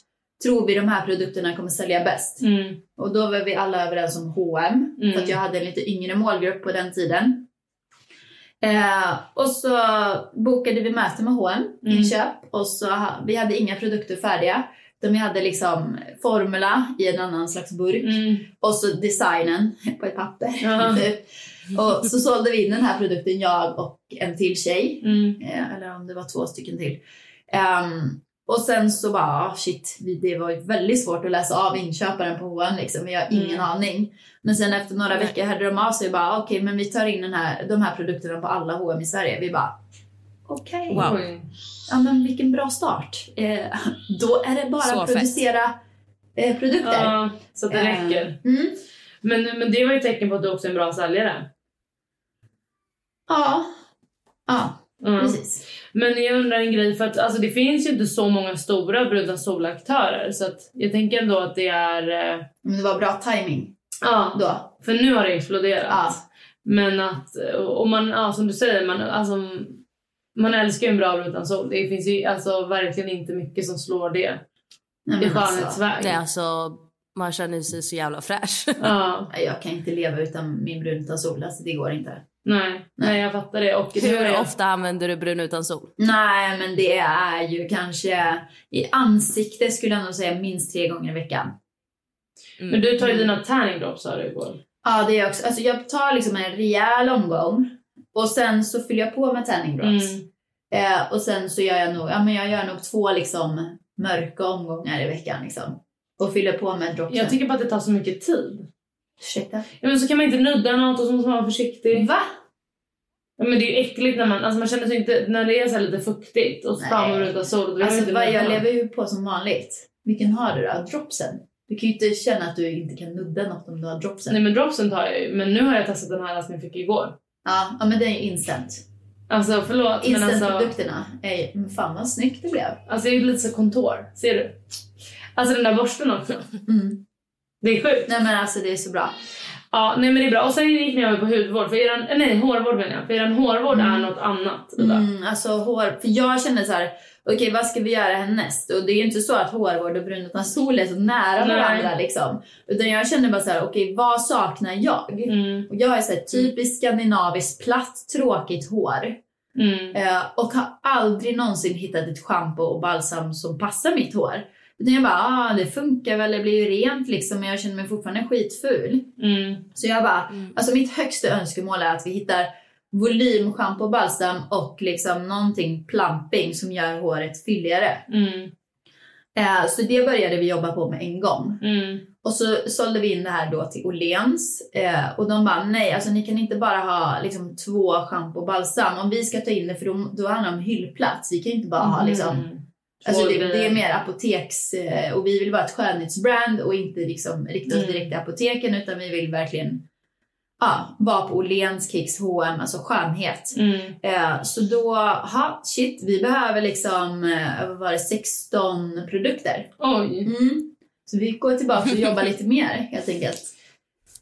tror vi de här produkterna kommer sälja bäst?
Mm.
Och då var vi alla överens om H&M
Mm.
för att jag hade en lite yngre målgrupp på den tiden. Eh, och så bokade vi möte med H&M
Mm.
inköp och så ha, vi hade inga produkter färdiga. Utan vi hade liksom formula i en annan slags burk
Mm.
och så designen på ett papper.
Ja.
typ. <laughs> och så sålde vi in den här produkten, jag och en till tjej.
Mm.
Eh, Eller om det var två stycken till. Ehm, och sen så bara, ah, shit, vi- det var ju väldigt svårt att läsa av inköparen på H&M liksom. Vi har ingen
Mm.
aning. Men sen efter några veckor hörde de av sig och bara, okej, men vi tar in den här, de här produkterna på alla H&M i Sverige. Vi bara, Okej.
Wow.
Ja, men vilken bra start. Eh, då är det bara
Så
att
fett.
producera eh, produkter.
Ja, så att det
Eh,
räcker.
Mm.
Men, men det var ju ett tecken på att du också är en bra säljare.
Ja. Ja,
Mm.
precis.
Men jag undrar en grej, för att alltså, det finns ju inte så många stora brudna solaktörer. Så att jag tänker ändå att det är... eh,
Men det var bra timing
Ja,
då.
för nu har det exploderat.
Ja.
Men att, eh, och man, ja, som du säger, man, alltså, man älskar ju en bra brud utan sol. Det finns ju alltså, verkligen inte mycket som slår det.
Nej,
I
men alltså,
skönhetsväg.
Det är alltså, man känner sig så jävla fräsch. <laughs>
Ja,
nej, jag kan inte leva utan min brun utan sol. Alltså, det går inte.
nej, nej, jag fattar det. Och nu är
Hur
jag-
ofta använder du brun utan sol?
Nej, men det är ju kanske... I ansikte skulle jag nog säga minst tre gånger i veckan.
Mm.
Men du tar ju dina tanning drops sa du igår.
Ja, det gör jag också. Alltså, jag tar liksom en rejäl omgång och sen så fyller jag på med tanning drops.
Mm.
Eh, och sen så gör jag nog, ja, men jag gör nog två liksom, mörka omgångar i veckan. Liksom. Och fyller på med dropsen.
Jag tycker bara att det tar så mycket tid.
Ursäkta.
Ja, men så kan man inte nudda något och så måste man vara försiktig.
Va?
Ja, men det är ju äckligt när man, alltså man känner sig inte, när det är så här lite fuktigt och så tar man
Nej.
brud utan sol. Då vill man
Alltså,
inte
vad jag
nudda.
lever ju på som vanligt. Vilken har du då? Dropsen? Du kan ju inte känna att du inte kan nudda något om du har dropsen.
Nej men dropsen tar jag ju. Men nu har jag testat den här som jag fick igår.
Ja, ja, men den är ju instant.
Alltså förlåt men alltså.
Instant-produkterna. är ju- men Fan vad snyggt det blev.
Alltså jag är lite så kontor. Ser du? Alltså den där borsten också.
Mm.
Det är sjukt.
Nej men alltså det är så bra.
Ja, nej men det är bra. Och sen gick ni över på hudvård. För eran, nej, hårvård menar jag. För eran hårvård är något annat. Ida.
Mm, alltså hår, för jag kände så här, okej vad ska vi göra härnäst? Och det är ju inte så att hårvård och brun utan sol är så nära
Nej.
varandra liksom. Utan jag kände bara så här, okej vad saknar jag?
Mm.
Och jag har ju så här typiskt skandinaviskt platt tråkigt hår.
Mm.
Eh, och har aldrig någonsin hittat ett schampo och balsam som passar mitt hår. Utan jag bara, ah, det funkar väl, det blir ju rent liksom. Men jag känner mig fortfarande skitful.
Mm.
Så jag bara, alltså mitt högsta önskemål är att vi hittar volym, schampo, balsam och liksom någonting plumping som gör håret fylligare.
Mm.
Eh, så det började vi jobba på med en gång.
Mm.
Och så sålde vi in det här då till Åhléns eh, och de bara nej, alltså ni kan inte bara ha liksom två schampo och balsam om vi ska ta in det för då, då handlar det om hyllplats. Vi kan ju inte bara ha liksom,
Mm.
alltså det,
Två
det är
grejer.
mer apoteks eh, och vi vill vara ett skönhetsbrand och inte liksom rikta oss
Mm.
direkt till apoteken utan vi vill verkligen ja, vara på Åhléns, Kicks, H&M, alltså skönhet.
Mm.
Eh, så då, ha, shit, vi behöver liksom, eh, vad var det, 16 produkter.
Oj.
Mm. Så vi går tillbaka och jobbar lite mer helt enkelt.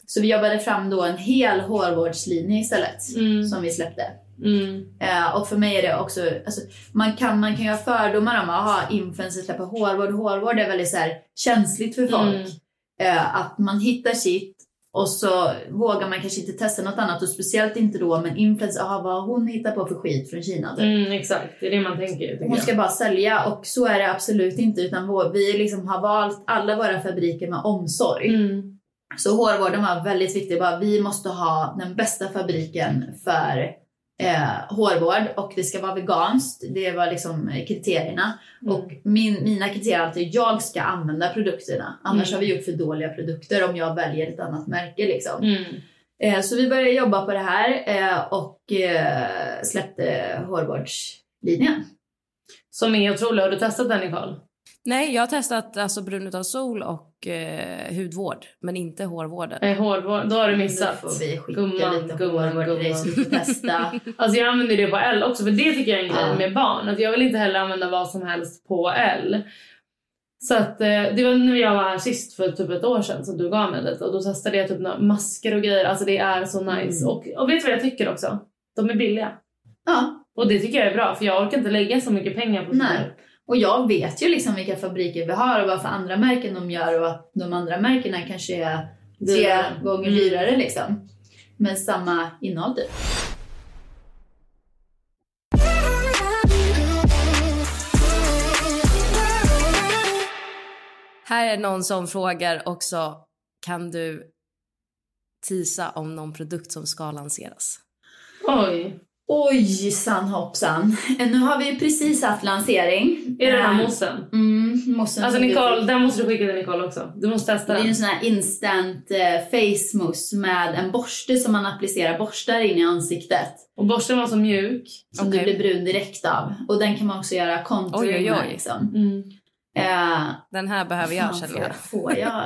Så vi jobbade fram då en hel hårvårdslinje istället
Mm.
som vi släppte.
Mm.
Eh, och för mig är det också, alltså, man, kan, man kan ju ha fördomar om att influencers släpper hårvård. Hårvård är väldigt så här, känsligt för folk.
Mm.
Eh, att man hittar sitt och så vågar man kanske inte testa något annat och speciellt inte då med en influencer, aha, vad har hon hittar på för skit från Kina. typ.
Mm, exakt, det är det man tänker. tycker
Hon
jag.
ska bara sälja och så är det absolut inte utan vår, vi liksom har valt alla våra fabriker med omsorg.
Mm.
Så hårvården var väldigt viktig. Bara, vi måste ha den bästa fabriken för eh, hårvård och det ska vara veganskt. Det var liksom eh, kriterierna.
Mm.
Och min, mina kriterier är alltid jag ska använda produkterna. Annars
Mm.
har vi gjort för dåliga produkter om jag väljer ett annat märke. Liksom.
Mm.
Eh, så vi började jobba på det här eh, och eh, släppte hårvårdslinjen.
Som är otrolig. Har du testat den Nicole?
Nej, jag har testat alltså brun utan sol och eh, hudvård, men inte hårvården.
Nej, hårvård. Då har du
Så
missat.
får vi skicka
Gumman,
lite
gumman,
hårvård till dig så
gumman.
du får testa.
Alltså jag använder det på L också för det tycker jag är en grej
Ja.
med barn. Att jag vill inte heller använda vad som helst på L. Så att eh, det var när jag var här sist för typ ett år sedan som du gav mig lite och då testade jag typ några masker och grejer. Alltså det är så nice.
Mm.
Och, och vet du vad jag tycker också? De är billiga.
<laughs> ja.
Och det tycker jag är bra för jag orkar inte lägga så mycket pengar på typ-
Nej. Och jag vet ju liksom vilka fabriker vi har och vad för andra märken de gör och att de andra märkena kanske är tre
Dyrare.
gånger
Mm.
dyrare liksom. Men samma innehåll typ.
Här är någon som frågar också, kan du tisa om någon produkt som ska lanseras?
Oj.
Oj <laughs> san hoppsan. Nu har vi ju precis haft lansering.
Är det den här
Eh,
moussen?
Mm, moussen.
Alltså Nicole, den måste du skicka till Nicole också. Du måste
Det
testa
är ju
den.
en sån här instant eh, face mousse med en borste som man applicerar borstar in i ansiktet.
Och borsten var så mjuk.
Som du blir brun direkt av. Och den kan man också göra
Oj,
contouring
oj,
med.
oj.
Liksom.
Mm.
Eh,
Den här
Fan,
behöver jag känner
får,
jag.
får jag?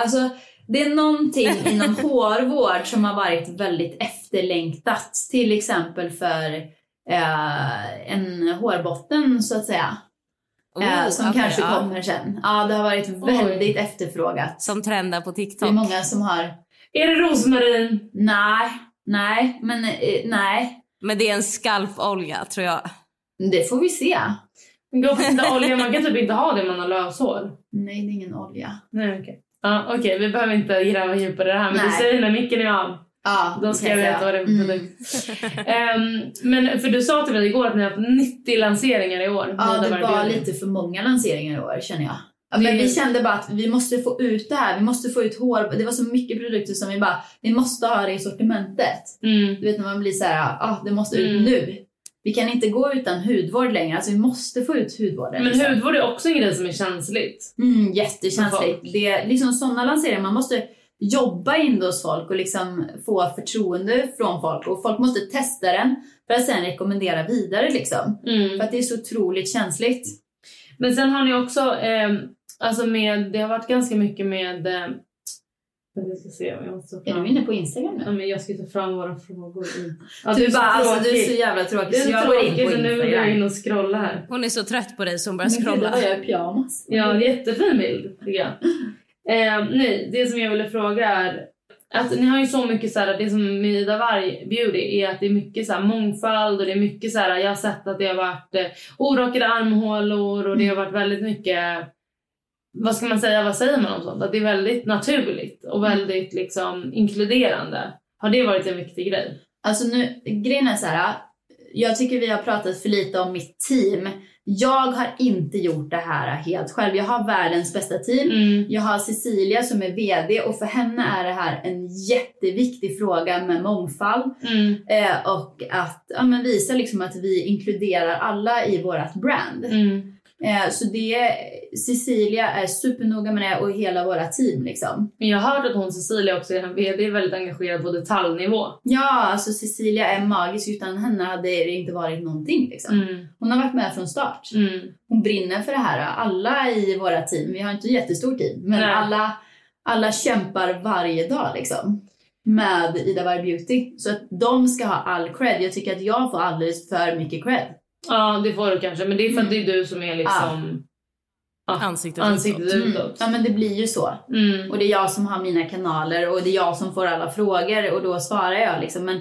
Alltså, det är någonting
<laughs>
inom hårvård som har varit väldigt efterlängtat. Till exempel för eh, en hårbotten så att säga. eh,
Oh,
som
okej,
kanske
ja.
kommer sen. Ja, det har varit väldigt efterfrågat.
Som trendar på TikTok.
Det är många som har...
Är det rosmarin?
Nej, nej, men eh, nej.
Men det är en skalpolja tror jag.
Det får vi se.
Men Gå på inte olja, man kan typ inte ha det om man har löshår.
Nej, det är ingen olja.
Nej, okej. Ja, okej, vi behöver inte gräva djupare i det här, men du
Nej.
säger när micken är av.
Ja,
Då
det
ska jag
kan
veta vad det
säga. Mm.
är för produkt. Ehm, men för du sa till mig igår att ni har haft 90 lanseringar i år.
Ja,
Ni
det
har varit
var
i-
lite för många lanseringar i år känner jag. Ja,
Det-
men vi kände bara att vi måste få ut det här. Vi måste få ut hår. Det var så mycket produkter som vi bara, vi måste ha det i sortimentet.
Mm.
Du vet när man blir så här, ah, det måste ut
Mm.
nu. Vi kan inte gå utan hudvård längre. Alltså vi måste få ut hudvården.
Men
liksom.
hudvård är också en grej som är känsligt.
Mm, jättekänsligt. Det är liksom sådana lanseringar. Man måste jobba in det hos folk och liksom få förtroende från folk. Och folk måste testa den för att sen rekommendera vidare liksom.
Mm.
För att det är så otroligt känsligt.
Men sen har ni också, ehm, alltså med, det har varit ganska mycket med... Eh, jag ska se, jag måste ta
Är
fram.
du inne på Instagram nu?
Ja, men jag ska ta fram våra frågor. i- Ja,
du bara, alltså du
tråkig.
är så jävla tråkig
Det är
så jag
så
går in
tråkigt,
på
så nu går jag
Instagram.
in och scrollar här.
Hon är så trött på dig så
<laughs>
hon börjar
Men gud,
scrolla.
vad jag är i pyjamas.
Ja, det är jättefin bild tycker jag. Eh, nej, det som jag ville fråga är att ni har ju så mycket så här, det som med Ida Varg Beauty är att det är mycket så här mångfald och det är mycket så här, jag har sett att det har varit eh, orakade armhålor och det har varit väldigt mycket, vad ska man säga, vad säger man om sånt? Att det är väldigt naturligt och väldigt liksom inkluderande. Har det varit en viktig grej?
Alltså nu, grejen är så här. Jag tycker vi har pratat för lite om mitt team. Jag har inte gjort det här helt själv. Jag har världens bästa team.
Mm.
Jag har Cecilia som är VD och för henne är det här en jätteviktig fråga med mångfald
Mm.
eh, och att ja, men visa liksom att vi inkluderar alla i vårt brand.
Mm.
Eh, så det, Cecilia är supernoga med det och hela våra team liksom.
Men jag har hört att hon Cecilia också, er vd, är väldigt engagerad på detaljnivå.
Ja, alltså Cecilia är magisk. Utan henne hade det inte varit någonting liksom.
Mm.
Hon har varit med från start.
Mm.
Hon brinner för det här. Alla i våra team, vi har inte ett jättestort team, men
Nej.
alla, alla kämpar varje dag liksom med Ida Varg Beauty. Så att de ska ha all cred. Jag tycker att jag får alldeles för mycket cred.
Ja, det får du kanske. Men det är för att
Mm.
det är du som är liksom
Ansiktet
ansiktet
Mm.
utåt.
Ja men det blir ju så.
Mm.
Och det är jag som har mina kanaler och det är jag som får alla frågor och då svarar jag liksom. Men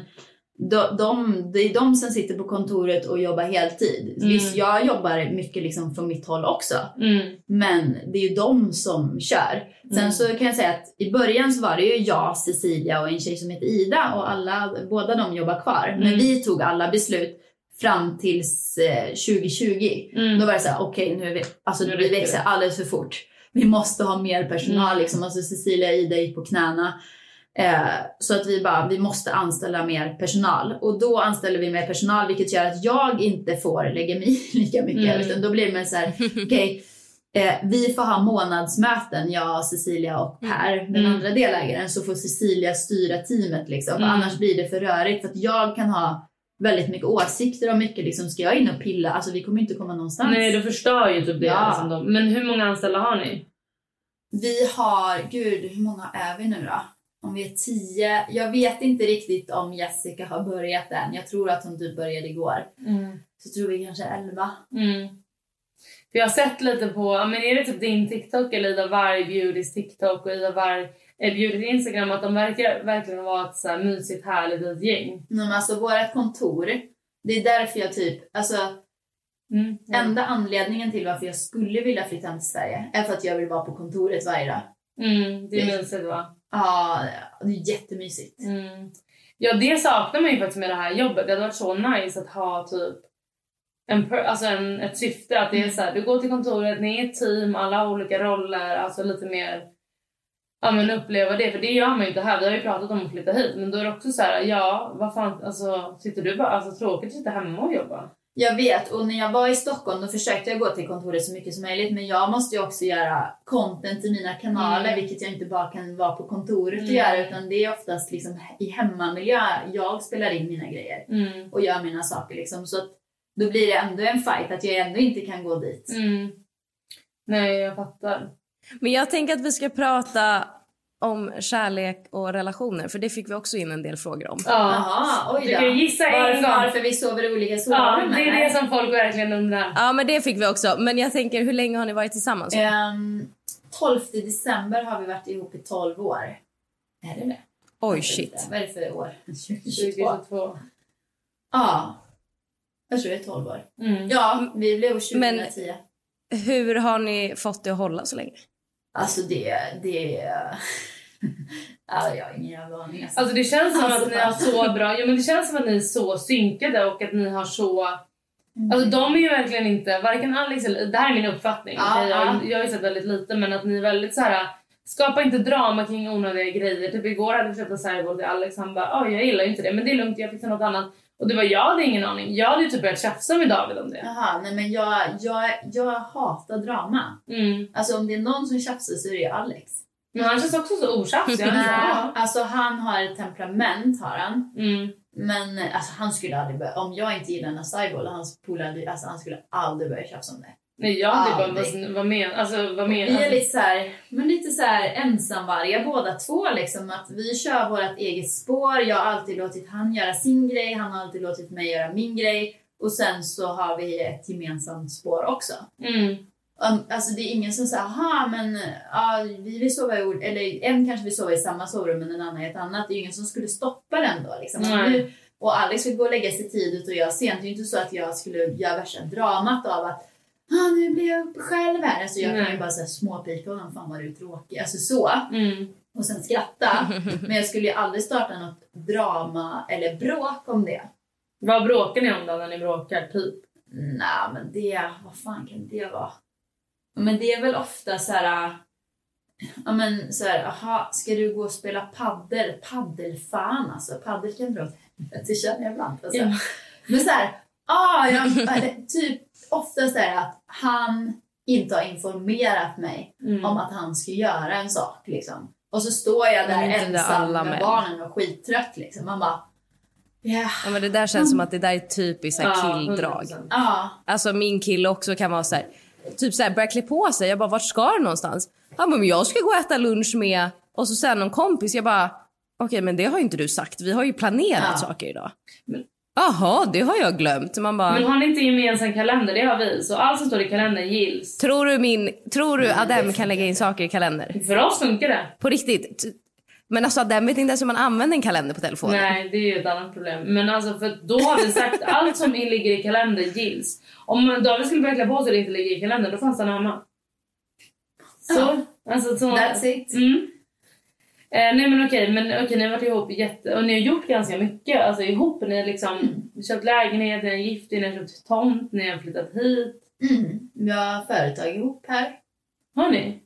de, de, det är de som sitter på kontoret och jobbar heltid.
Mm.
Visst, jag jobbar mycket liksom från mitt håll också.
Mm.
Men det är ju de som kör. Sen
Mm.
så kan jag säga att i början så var det ju jag, Cecilia och en tjej som heter Ida och alla, båda de jobbar kvar. Men
Mm.
vi tog alla beslut fram tills eh, 2020.
Mm.
Då var det så här, okej nu, är vi, alltså,
Nu
vi
räcker
växer
det.
alldeles för fort. Vi måste ha mer personal
Mm.
liksom. Alltså Cecilia och Ida gick på knäna. Eh, så att vi bara, vi måste anställa mer personal. Och då anställer vi mer personal vilket gör att jag inte får lägga mig i <laughs> lika mycket.
Mm.
Utan då blir det mer så här, okej Eh, vi får ha månadsmöten, jag, Cecilia och Per, den
Mm.
andra delägaren, så får Cecilia styra teamet. Liksom. För
Mm.
Annars blir det för rörigt. För att jag kan ha väldigt mycket åsikter om mycket. Liksom, ska jag in och pilla? Alltså, vi kommer inte komma någonstans.
Nej, du förstör ju typ det.
Ja.
Liksom de. Men hur många anställda har ni?
Vi har, gud, hur många är vi nu då? Om vi är tio? Jag vet inte riktigt om Jessica har börjat än. Jag tror att hon typ började igår.
Mm.
Så tror vi kanske elva.
För jag har sett lite på, ja, men är det typ din TikTok eller Ida Varg Beautys TikTok och Ida Varg eh, Beautys Instagram att de verkar verkligen vara ett så här mysigt härligt litet gäng.
Nej, men alltså vårt kontor, det är därför jag typ, alltså
Mm.
Enda anledningen till varför jag skulle vilja flytta hem till Sverige är för att jag vill vara på kontoret varje dag.
Mm, det är mysigt va?
Ja, det är jättemysigt.
Mm. Ja, det saknar man ju faktiskt med det här jobbet. Det hade varit så nice att ha typ en, per- alltså en, ett syfte. Att det
Mm.
är så här, du går till kontoret, ni är ett team, alla har olika roller. Alltså lite mer ja, men uppleva det. För det gör man ju inte här. Vi har ju pratat om att flytta hit. Men då är det också så här, ja, vad fan, alltså sitter du bara, alltså tråkigt att sitta hemma och jobba.
Jag vet, och när jag var i Stockholm då försökte jag gå till kontoret så mycket som möjligt men jag måste ju också göra content i mina kanaler
Mm.
vilket jag inte bara kan vara på kontoret och
Mm.
göra utan det är oftast liksom i hemmamiljö jag spelar in mina grejer
Mm.
och gör mina saker liksom så att då blir det ändå en fight att jag ändå inte kan gå dit.
Mm. Nej, jag fattar.
Men jag tänker att vi ska prata om kärlek och relationer för det fick vi också in en del frågor om.
Ja.
Jaha, oj då.
Du kan ju gissa en
varför,
gång.
varför vi sover i olika
ja,
sovrum
det
eller?
är det som folk verkligen undrar.
Ja men det fick vi också. Men jag tänker hur länge har ni varit tillsammans?
Ehm, 12 december har vi varit ihop i 12 år. Är det det?
Oj shit.
Vad är det för år? 2022.
2022.
Ja. Jag tror det är 12 år.
Mm.
Ja, vi blev 2010.
Men- Hur har ni fått det att hålla så länge?
Alltså det... det... <laughs> ja, jag har ingen jävla aning. Alltså.
Alltså det känns som
Alltså,
att ni har så bra, jo men det känns som att ni är så synkade och att ni har så
Mm.
Alltså de är ju verkligen inte, varken Alex eller, det här är min uppfattning,
Ja,
okej? jag,
ja.
jag har ju sett väldigt lite men att ni är väldigt så här. skapa inte drama kring onödiga grejer. Typ igår hade vi köpt en cyborg till Alex, han bara "Oj, jag gillar ju inte det men det är lugnt jag fixar något annat. Och du bara jag hade ingen aning, jag hade ju typ börjat tjafsa med David om det.
Jaha, nej men jag, jag, jag hatar drama.
Mm.
Alltså om det är någon som tjafsar så är det ju Alex.
Men han känns också så otjafsig. han är så här,
Nej, alltså han har ett temperament har han.
"Ja." Mm.
Men eh, alltså, han skulle aldrig börja, om jag inte gillar Nasaibo eller hans polare, alltså han skulle aldrig börja tjafsa om det.
Nej jag hade
Ja,
bara vad, vad men, alltså vad men,
Vi är lite så här, men lite så här ensamvargar båda två liksom att vi kör vårt eget spår. Jag har alltid låtit han göra sin grej, han har alltid låtit mig göra min grej och sen så har vi ett gemensamt spår också.
mm.
Um, Alltså det är ingen som säger aha men ja, vi vill sova i ord, eller en kanske vill sova i samma sovrum men en annan i ett annat. Det är ju ingen som skulle stoppa den då liksom. Att
Nej.
Nu, och Alex skulle gå och lägga sig tidigt och jag sent. Det är ju inte så att jag skulle göra värsta dramat av att ah, nu blir jag uppe själv här. Alltså jag kan
Nej.
ju bara säga småpika honom, fan vad du är tråkig. Alltså så.
Mm.
Och sen
<laughs>
skratta. men jag skulle ju aldrig starta något drama eller bråk om det.
Vad bråkar ni om då när ni bråkar typ?
Nej, men det... Vad fan kan det vara? Ja, Men det är väl ofta så här... äh, Ja, men så här, aha, ska du gå och spela paddel? Paddelfan alltså. Paddel kan <laughs> dra åt helvete känner jag ibland. Alltså.
Ja.
Men så här, ah, jag, eller typ ofta så här att han inte har informerat mig
Mm.
om att han ska göra en sak liksom. Och så står jag där
Men inte det
ensam
alla
med
män.
barnen och skittrött liksom. Man bara, ja,
Ja, men det där känns som att det där är typiskt så här killdrag.
100%.
ja.
Alltså min kille också kan vara så här, typ så här börja klä på sig. Jag bara vart ska du någonstans? Ja men jag ska gå och äta lunch med och så sen någon kompis. Jag bara okej men det har ju inte du sagt. Vi har ju planerat
Ja.
saker idag. Jaha det har jag glömt. Man bara
Men har ni inte gemensam kalender? Det har vi. Så allt som står i kalendern gills.
tror du min, tror du Adem kan lägga in saker i kalender?
För oss funkar det.
På riktigt. T- Men alltså Adem vet inte ens hur man använder en kalender på telefonen.
Nej, det är ju ett annat problem. Men alltså, för då har vi sagt allt som ligger i kalendern gills. Om David skulle börja klä på sig och det inte ligger i kalendern, då fanns han hemma. Så. Alltså, så.
That's it.
Mm. Eh, nej men okej, men okej, ni har varit ihop jätte... Och ni har gjort ganska mycket. Alltså ihop, ni har liksom köpt lägenhet, ni har gift er, ni har köpt tomt, ni har flyttat hit.
Mm. Vi har företag ihop här.
Har ni?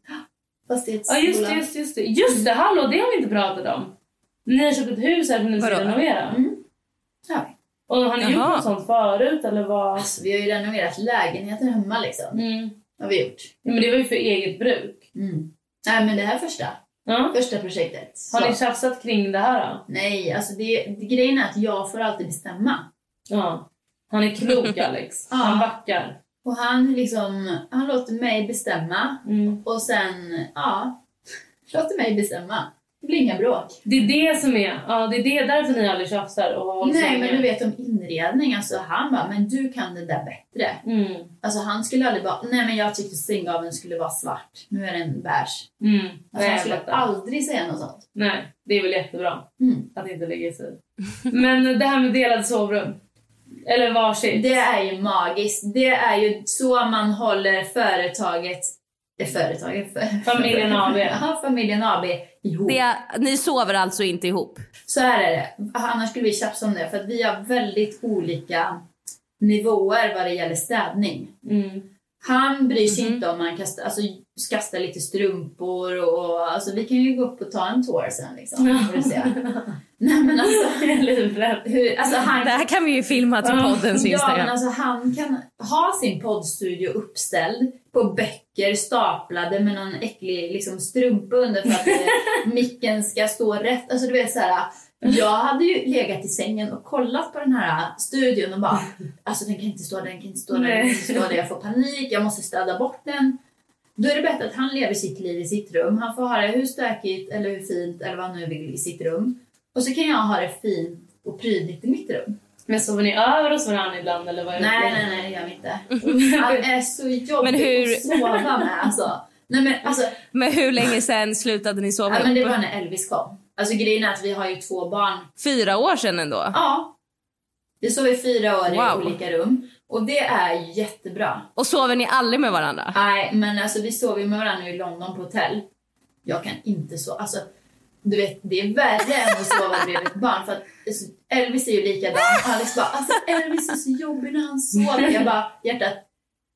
Ja
Fastighetsbolag.
just det, just det, just det. Just det, hallå det har vi inte pratat om. Ni har köpt ett hus här som ni ska
Vadå?
renovera.
Mm. Ja.
Och har ni gjort
Jaha.
något sånt förut eller vad?
Alltså, vi har ju renoverat lägenheten hemma liksom.
Mm.
Har vi gjort.
Ja, men det var ju för eget bruk.
Mm. Nej men det här första.
Ja.
Första projektet. Så.
Har ni tjafsat kring det här då?
Nej, alltså det, det, grejen är att jag får alltid bestämma.
Ja. Han
<laughs>
är klok Alex.
Ja.
Han backar.
Och han liksom, han låter mig bestämma.
Mm.
Och sen, ja. <laughs> Låter mig bestämma. Det blir inga bråk.
Det är det som är, ja det är det därför ni aldrig tjafsar och har hållit så
Nej men
länge.
du vet om inredning, alltså han bara, men du kan det där bättre.
Mm.
Alltså han skulle aldrig bara, nej men jag tyckte sänggaveln skulle vara svart. Nu är den beige.
Mm.
Alltså,
Nej,
han
jag
skulle
fattar.
aldrig säga något sånt.
Nej, det är väl jättebra
Mm.
att inte lägga sig i. Men det här med delade sovrum. Eller varsitt.
Det är ju magiskt. Det är ju så man håller företaget, eh, företaget, för,
Familjen AB.
<laughs> ja, familjen AB ihop.
Det, ni sover alltså inte ihop?
Så här är det. Annars skulle vi tjafsa om det för att vi har väldigt olika nivåer vad det gäller städning.
Mm.
Han bryr sig inte om man kastar, alltså, kastar lite strumpor och alltså, vi kan ju gå upp och ta en tår sen liksom. Får du se. Nej men alltså,
Jag är livrädd.
hur, alltså han,
Det här kan vi ju filma till poddens
ja, men
Instagram.
alltså, han kan ha sin poddstudio uppställd på böcker staplade med någon äcklig liksom, strumpa under för att
<laughs>
eh, micken ska stå rätt. Alltså du vet så här. Jag hade ju legat i sängen och kollat på den här studion och bara alltså den kan inte stå där, den kan inte stå där, den kan inte stå där, jag får panik, jag måste städa bort den. Då är det bättre att han lever sitt liv i sitt rum. Han får ha det hur stökigt eller hur fint eller vad han nu vill i sitt rum. Och så kan jag ha det fint och prydligt i mitt rum.
Men sover ni över hos varandra ibland eller vad är det?
Nej, nej, nej, Mm. det gör vi inte. Han är så jobbig
Men hur-
att sova med. Alltså. Nej, men, alltså,
Men hur länge sen slutade ni sova
ja, men det var
ihop?
när Elvis kom. Alltså, grejen är att vi har ju två barn.
Fyra år sedan ändå?
Ja. Vi sov i fyra år
Wow.
i olika rum. Och det är jättebra.
Och sover ni aldrig med varandra?
Nej, men alltså, vi sov ju med varandra i London på hotell. Jag kan inte sova. Alltså, du vet, det är värre än att sova bredvid ett barn. För att, alltså, Elvis är ju likadan. Alex bara, alltså Elvis är så jobbig när han sover. Jag bara, hjärtat,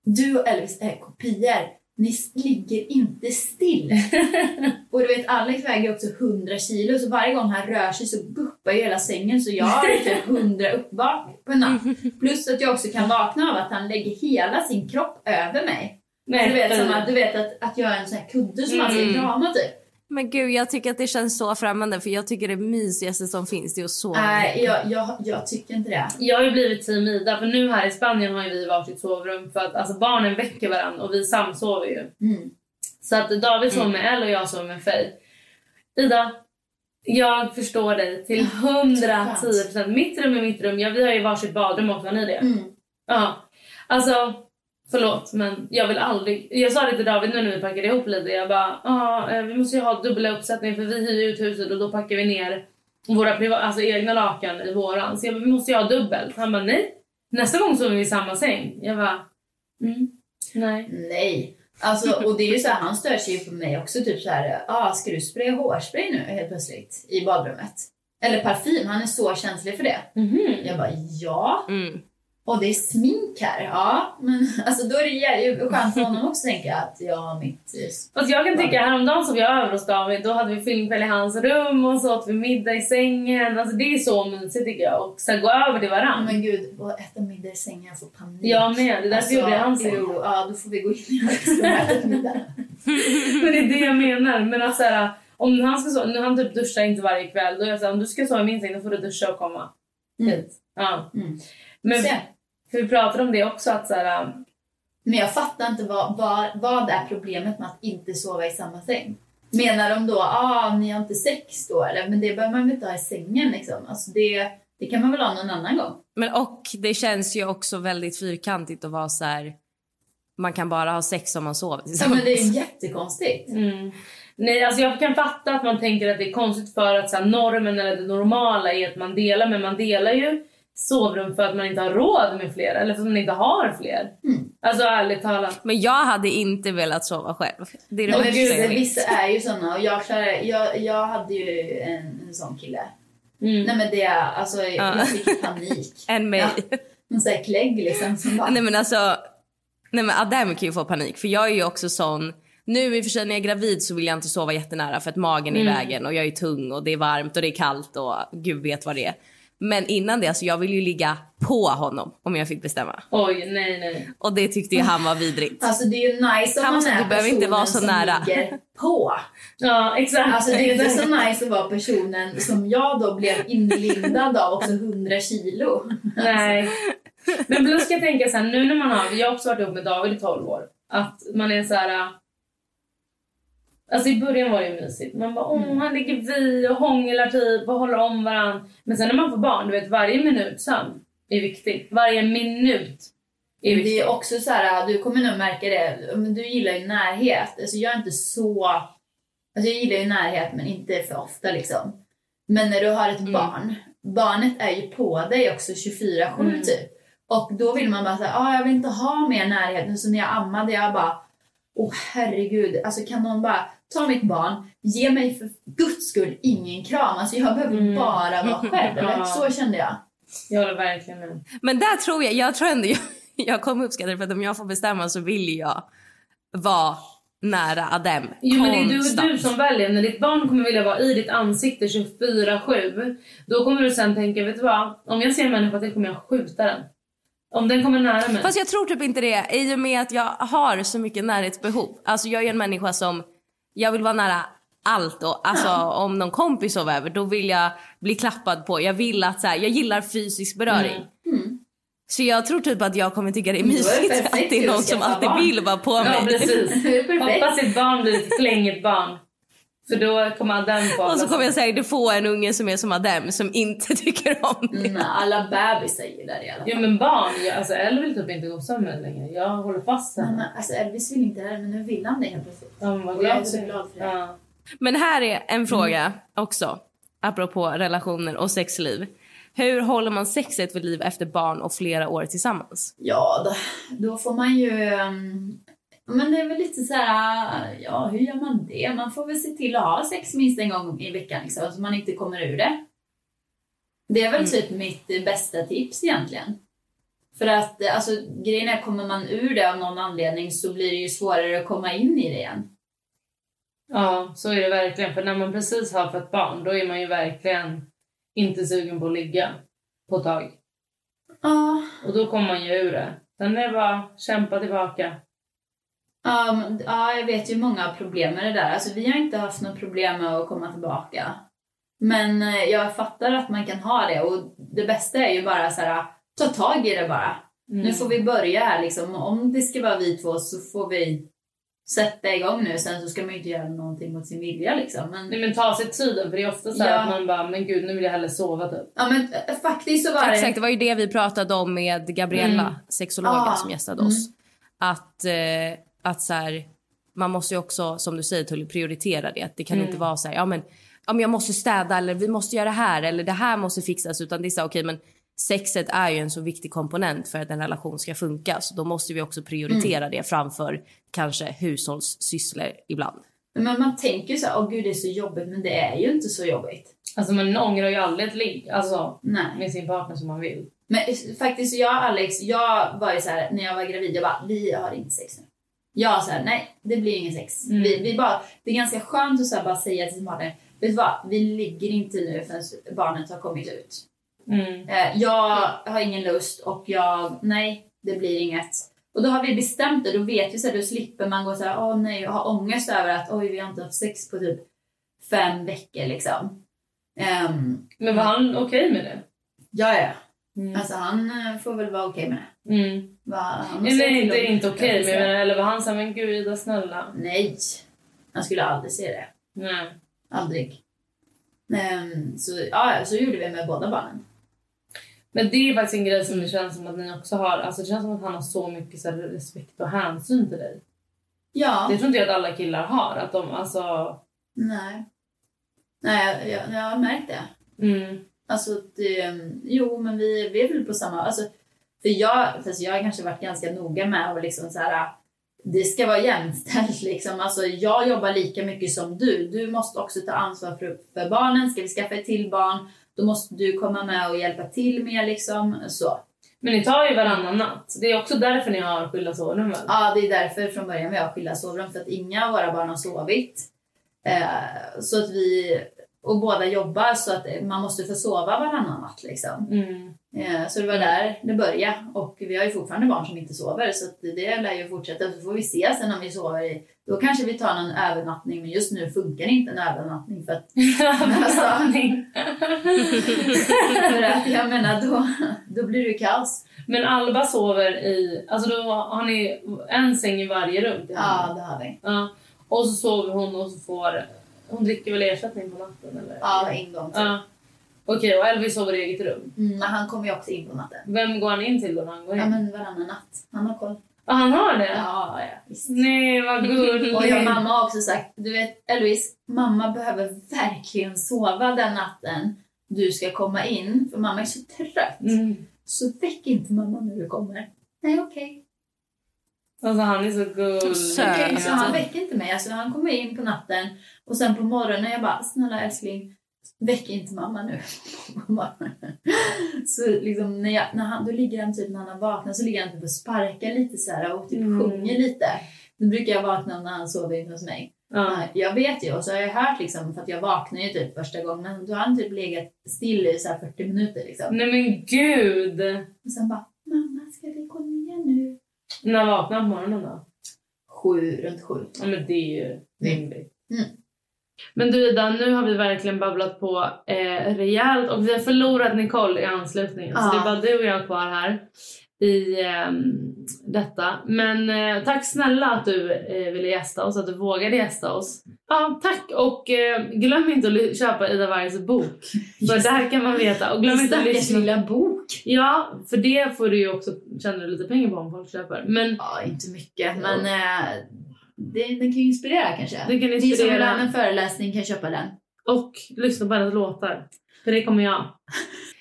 du och Elvis är kopior. Ni s- ligger inte still. Och du vet, Alex väger också 100 kilo så varje gång han rör sig så guppar ju hela sängen så jag har typ 100 uppvak på en natt. Plus att jag också kan vakna av att han lägger hela sin kropp över mig.
Nej,
du vet, som
fy.
att, du vet att, att jag är en sån här kudde som han
Mm.
ska krama typ.
Men gud, jag tycker att det känns så främmande för jag tycker det mysigaste som finns det är att sova.
Nej, jag, jag, jag tycker inte det.
Jag har ju blivit team Ida för nu här i Spanien har ju vi varsitt sovrum för att alltså, barnen väcker varandra och vi samsover ju.
Mm.
Så att David sover med Elle och jag sover med Faye. Ida, jag förstår dig till 110 procent. Mitt rum är mitt rum. Ja, vi har ju varsitt badrum också, har ni det?
Mm.
Ja. Alltså, förlåt men jag vill aldrig... Jag sa det till David nu när vi packade ihop lite. Jag bara, ah, eh, vi måste ju ha dubbla uppsättningar för vi hyr ju ut huset och då packar vi ner våra priva- alltså egna lakan i våran. Så jag bara, vi måste ju ha dubbelt. Han bara, nej. Nästa gång sover vi i samma säng. Jag bara, mm, nej.
Nej. Alltså, och det är ju så här, han stör sig ju på mig också. Typ så här, ah, ska du spraya hårspray nu helt plötsligt i badrummet? Eller parfym, han är så känslig för det.
Mhm.
Jag bara, ja.
Mm.
Och det är smink här. Ja, men alltså då är det jä- skönt för honom också tänker jag att jag har mitt... eh, s-
Fast jag kan tycka häromdagen som jag över hos David, då hade vi filmkväll i hans rum och så åt vi middag i sängen. Alltså det är så mysigt tycker jag. Och sen gå över till
Ja,
varann.
Men gud, att äta middag i sängen, jag får panik. Alltså,
Jag med, det är därför jag gjorde i hans säng.
jo, Ja, då får vi gå in i <laughs> hans rum och äta middag.
<laughs> Men det är det jag menar. Men att så här, om han ska sova, nu han typ duschar inte varje kväll. Då är jag så här, om du ska sova i min säng då får du duscha och komma.
Mm.
Ja.
Mm.
Men
Så,
för vi pratade om det också att så här,
men jag fattar inte vad, vad, vad är problemet med att inte sova i samma säng. Menar de då, ah, ni har inte sex då eller? Men det behöver man väl inte ha i sängen liksom. Alltså det, det kan man väl ha någon annan gång.
Men och det känns ju också väldigt fyrkantigt att vara så här. Man kan bara ha sex om man sover
Ja, men
tillsammans.
det är ju jättekonstigt.
Mm. Nej, alltså jag kan fatta att man tänker att det är konstigt för att så här, normen eller det normala är att man delar, men man delar ju sovrum för att man inte har råd med fler eller för att man inte har fler.
Mm.
Alltså ärligt talat.
Men jag hade inte velat sova själv. Det är det
Nej, men
värsta
vissa,
jag vet.
vissa är ju såna och jag, klarar, jag, jag hade ju en, en sån kille.
Mm.
Nej men det, alltså jag fick
<laughs>
panik.
Än mig.
Ja, en sån här klägg liksom som bara...
Nej men alltså, nej men Adam kan ju få panik för jag är ju också sån. Nu i och för sig när jag är gravid så vill jag inte sova jättenära för att magen är i
Mm.
vägen och jag är tung och det är varmt och det är kallt och gud vet vad det är. Men innan det, alltså jag vill ju ligga på honom om jag fick bestämma.
Oj, nej, nej.
Och det tyckte ju han var vidrigt.
Alltså det är ju nice om
Han
man
måste-
är
du behöver inte vara
personen
så nära.
som ligger på.
Ja, exakt.
Alltså det är ju inte
exakt.
så nice att vara personen som jag då blev inlindad av också 100 kilo.
Nej. Men plus ska jag tänka så här, nu när man har, jag har också varit ihop med David i 12 år, att man är så här... äh, Alltså i början var det ju mysigt. Man bara, åh han ligger vi och hånglar typ och håller om varandra. Men sen när man får barn, du vet varje minut sömn är viktig. Varje minut är viktig.
Det är också så här, du kommer nog märka det, men du gillar ju närhet. Alltså jag är inte så... Alltså jag gillar ju närhet men inte för ofta liksom. Men när du har ett barn, barnet är ju på dig också 24-7 typ. Och då vill man bara säga, ah, jag vill inte ha mer närhet. Men Så när jag ammade, jag bara, åh herregud, alltså kan någon bara ta mitt barn, ge mig för guds skull ingen kram. Alltså jag behöver bara vara själv. <laughs>
Ja.
Så kände jag.
Jag håller verkligen med.
Men där tror jag, jag tror ändå <laughs> jag,
jag kommer uppskatta det för att om jag får bestämma så vill jag vara nära Adem.
Jo, men det är
konstant.
du, du som väljer. När ditt barn kommer vilja vara i ditt ansikte 24-7, då kommer du sen tänka, vet du vad? Om jag ser en människa till kommer jag skjuta den. Om den kommer nära mig.
Fast jag tror typ inte det i och med att jag har så mycket närhetsbehov. Alltså jag är en människa som, jag vill vara nära allt och alltså om någon kompis sover över då vill jag bli klappad på. Jag vill att så här, jag gillar fysisk beröring. Så jag tror typ att jag kommer tycka det är mysigt
perfekt
att det är någon
att
som
skaffa
alltid
barn.
vill vara på
Ja,
mig.
<laughs>
precis.
Det är perfekt.
Hoppas ditt barn blir ett flängigt barn. För då kommer den på
Och så kommer jag säkert få en unge som är som Adem som inte <laughs> tycker om det.
Mm, alla bebisar gillar det i alla fall.
Jo men barn, jag, alltså Elle vill typ inte gå på sömnen längre. Jag håller fast
Men,
henne.
alltså Elvis vill inte det här men nu vill han det helt plötsligt.
Ja, men vad
Och jag är
glad
så
jag
glad för det.
Ja.
Men här är en fråga också, apropå relationer och sexliv. Hur håller man sexet vid liv efter barn och flera år tillsammans?
Ja, då, då får man ju... ehm, men det är väl lite så här, ja hur gör man det? Man får väl se till att ha sex minst en gång i veckan liksom, så man inte kommer ur det. Det är väl typ mitt eh, bästa tips egentligen. För att eh, alltså, grejen är, kommer man ur det av någon anledning så blir det ju svårare att komma in i det igen.
ja, så är det verkligen. För när man precis har fått barn, då är man ju verkligen inte sugen på att ligga på ett tag.
Ja,
Och då kommer man ju ur det. Sen är det bara kämpa tillbaka.
Ja, men- Um, ja, jag vet ju många har problem med det där. Alltså, vi har inte haft några problem med att komma tillbaka. Men eh, jag fattar att man kan ha det och det bästa är ju bara så här, ta tag i det bara. Nu får vi börja här liksom. Om det ska vara vi två så får vi sätta igång nu. Sen så ska man ju inte göra någonting mot sin vilja liksom. Men,
Nej men ta sig tiden, för det är ofta så här
Ja.
att man bara, men gud nu vill jag hellre sova typ.
ja, men eh, faktiskt så var det...
Exakt, det var ju det vi pratade om med Gabriella,
Mm.
sexologen
Ah,
som gästade oss. Att, eh, att så här, man måste ju också, som du säger Tully, prioritera det. Att det
Mm.
kan inte vara så här, ja men, ja men jag måste städa eller vi måste göra det här eller det här måste fixas. Utan det är så här, okej men sexet är ju en så viktig komponent för att en relation ska funka. Så då måste vi också prioritera
Mm.
det framför kanske hushållssysslor ibland.
Men man tänker ju så här, åh gud det är så jobbigt. Men det är ju inte så jobbigt.
Alltså man ångrar ju aldrig ett ligg, alltså
Nej.
med sin partner som man vill.
Men faktiskt, jag och Alex, jag var ju så här när jag var gravid, jag bara, vi har inte sex nu. Jag så här, nej, det blir ingen sex.
Mm.
Vi, vi bara, det är ganska skönt att så här bara säga till sin partner, vet du vad, vi ligger inte nu förrän barnet har kommit ut.
Mm.
Eh, jag har ingen lust och jag, nej, det blir inget. Och då har vi bestämt det, då vet vi så här, då slipper man gå så här, åh nej, och ha ångest över att oj, vi har inte haft sex på typ fem veckor liksom. Ehm,
Men var han okej med det?
ja, ja.
Mm.
Alltså han eh, får väl vara okej med det.
Mm.
Va, han måste
Eller
säga
inte,
till om-
inte okej, men
Jag
jag menar, eller var han såhär, men gud Ida snälla.
Nej, han skulle aldrig se det.
Nej.
Aldrig. Ehm, så, ja, ja, så gjorde vi med båda barnen.
Men det är faktiskt en grej som det känns som att ni också har. Alltså det känns som att han har så mycket så här, respekt och hänsyn till dig.
Ja,
Det tror inte jag att alla killar har. Att de alltså...
nej. Nej, jag, jag, jag har märkt det.
Mm.
Alltså, det, ehm, jo, men vi, vi är väl på samma... Alltså, för jag, fast jag har kanske varit ganska noga med att liksom så här, det ska vara jämställt. <laughs> Liksom. Alltså, jag jobbar lika mycket som du. Du måste också ta ansvar för, för barnen. Ska vi skaffa ett till barn, då måste du komma med och hjälpa till mer. Liksom. Så.
Men ni tar ju varannan natt. Det är också därför ni har skilda sovnummer.
Ja, det är därför från början vi har skilda sovrum för att inga av våra barn har sovit. Eh, så att vi och båda jobbar så att man måste få sova varannan natt liksom.
Mm.
Eh, så det var där det började och vi har ju fortfarande barn som inte sover så att det lär ju fortsätta. Så får vi se sen om vi sover. i- Då kanske vi tar någon övernattning men just nu funkar inte en övernattning för
<laughs>
att, alltså, för att jag menar då, då blir det ju kaos.
men Alba sover i... Alltså då har ni en säng i varje rum. till henne.
Ja, det har vi.
ja. Och så sover hon och så får... Hon dricker väl ersättning på natten eller?
Ja, en gång till.
Ja. Okej, och Elvis sover i eget rum.
Mm, men han kommer ju också in på natten.
Vem går han in till då när han går in?
Ja men varannan natt. Han har koll.
Ah, han har det?
Ja, ja visst.
Nej, vad gulligt.
<laughs> Och jag och mamma har också sagt, du vet Elvis, mamma behöver verkligen sova den natten du ska komma in. För mamma är så trött.
Mm.
Så väck inte mamma när du kommer. Nej okej.
Alltså, han är så gullig.
Söt.
Okej, Så han väcker inte mig. Alltså, han kommer in på natten och sen på morgonen jag bara, snälla älskling, Väck inte mamma nu. <laughs> så liksom när jag, när han, då ligger han typ när han har vaknat så ligger han typ och sparkar lite så här och typ sjunger lite. Nu brukar jag vakna när han sover inne hos mig.
Ja.
Jag vet ju och så har jag hört liksom för att jag vaknar ju typ första gången men då har han typ legat still i så här 40 minuter liksom.
Nej men gud!
Och sen bara mamma ska vi gå ner nu?
När vaknar han på morgonen då?
Sju, runt sju.
Ja men det är ju rimligt.
Mm.
Men du Ida, nu har vi verkligen babblat på eh, rejält och vi har förlorat Nicole i anslutningen.
Ja.
Så det är bara du och jag kvar här i ehm, detta. Men eh, tack snälla att du eh, ville gästa oss, att du vågade gästa oss. Ja, tack och eh, glöm inte att ly- köpa Ida Wargs
<laughs>
bok. För där kan man veta. Och glöm inte att
Stackars
lyssna.
lilla bok.
Ja, för det får du ju också tjäna lite pengar på om folk köper. Men
Ja, inte mycket men eh, det, den kan ju inspirera kanske.
Den kan
Ni som vill
inspirera.
ha en föreläsning kan köpa den.
Och lyssna på hennes låtar. För det kommer jag.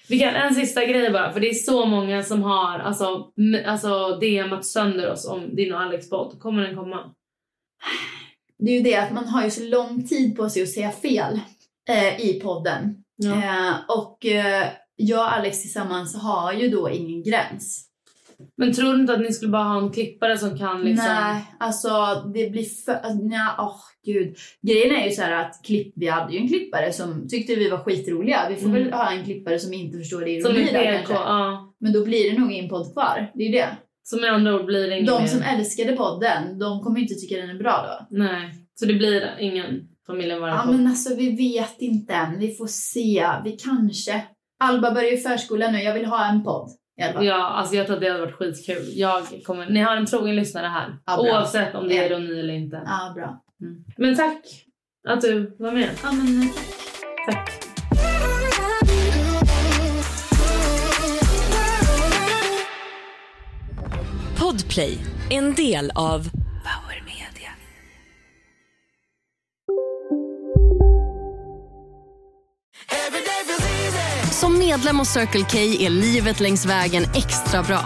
Vi kan, en sista grej bara, för det är så många som har alltså, m- alltså DMat sönder oss om din och Alex podd. Kommer den komma?
Det är ju det att man har ju så lång tid på sig att säga fel eh, i podden.
Ja.
Eh, och eh, jag och Alex tillsammans har ju då ingen gräns.
Men tror du inte att ni skulle bara ha en klippare som kan liksom...
Nej, alltså det blir för... Alltså, nja, åh gud. Grejen är ju så här att klipp, vi hade ju en klippare som tyckte vi var skitroliga. Vi får
Mm.
väl ha en klippare som inte förstår det
Som
ironi
är
där
PK.
kanske.
Ja.
Men då blir det nog ingen podd kvar. Det är ju det.
Så med andra ord blir det ingen
De
mer.
som älskade podden, de kommer ju inte tycka den är bra då.
Nej. Så det blir ingen familjen vara
Ja
podd.
men alltså vi vet inte än. Vi får se. Vi kanske. Alba börjar ju förskolan nu. Jag vill ha en podd. i alla fall.
Ja, alltså jag tror att det hade varit skitkul. Jag kommer... Ni har en trogen lyssnare här.
Ja, bra.
oavsett om det är
Ja.
ironi eller inte.
Ja, bra.
Mm. Men tack att du var med.
Ja, men
Tack.
Podplay, en del av Power Media.
Som medlem hos Circle K är livet längs vägen extra bra.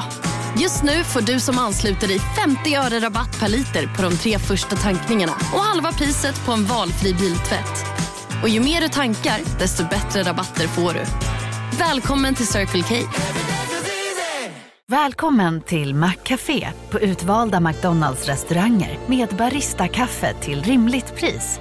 Just nu får du som ansluter dig 50 öre rabatt per liter på de tre första tankningarna och halva priset på en valfri biltvätt. Och ju mer du tankar, desto bättre rabatter får du. Välkommen till Circle K.
Välkommen till Maccafé på utvalda McDonalds restauranger med Baristakaffe till rimligt pris.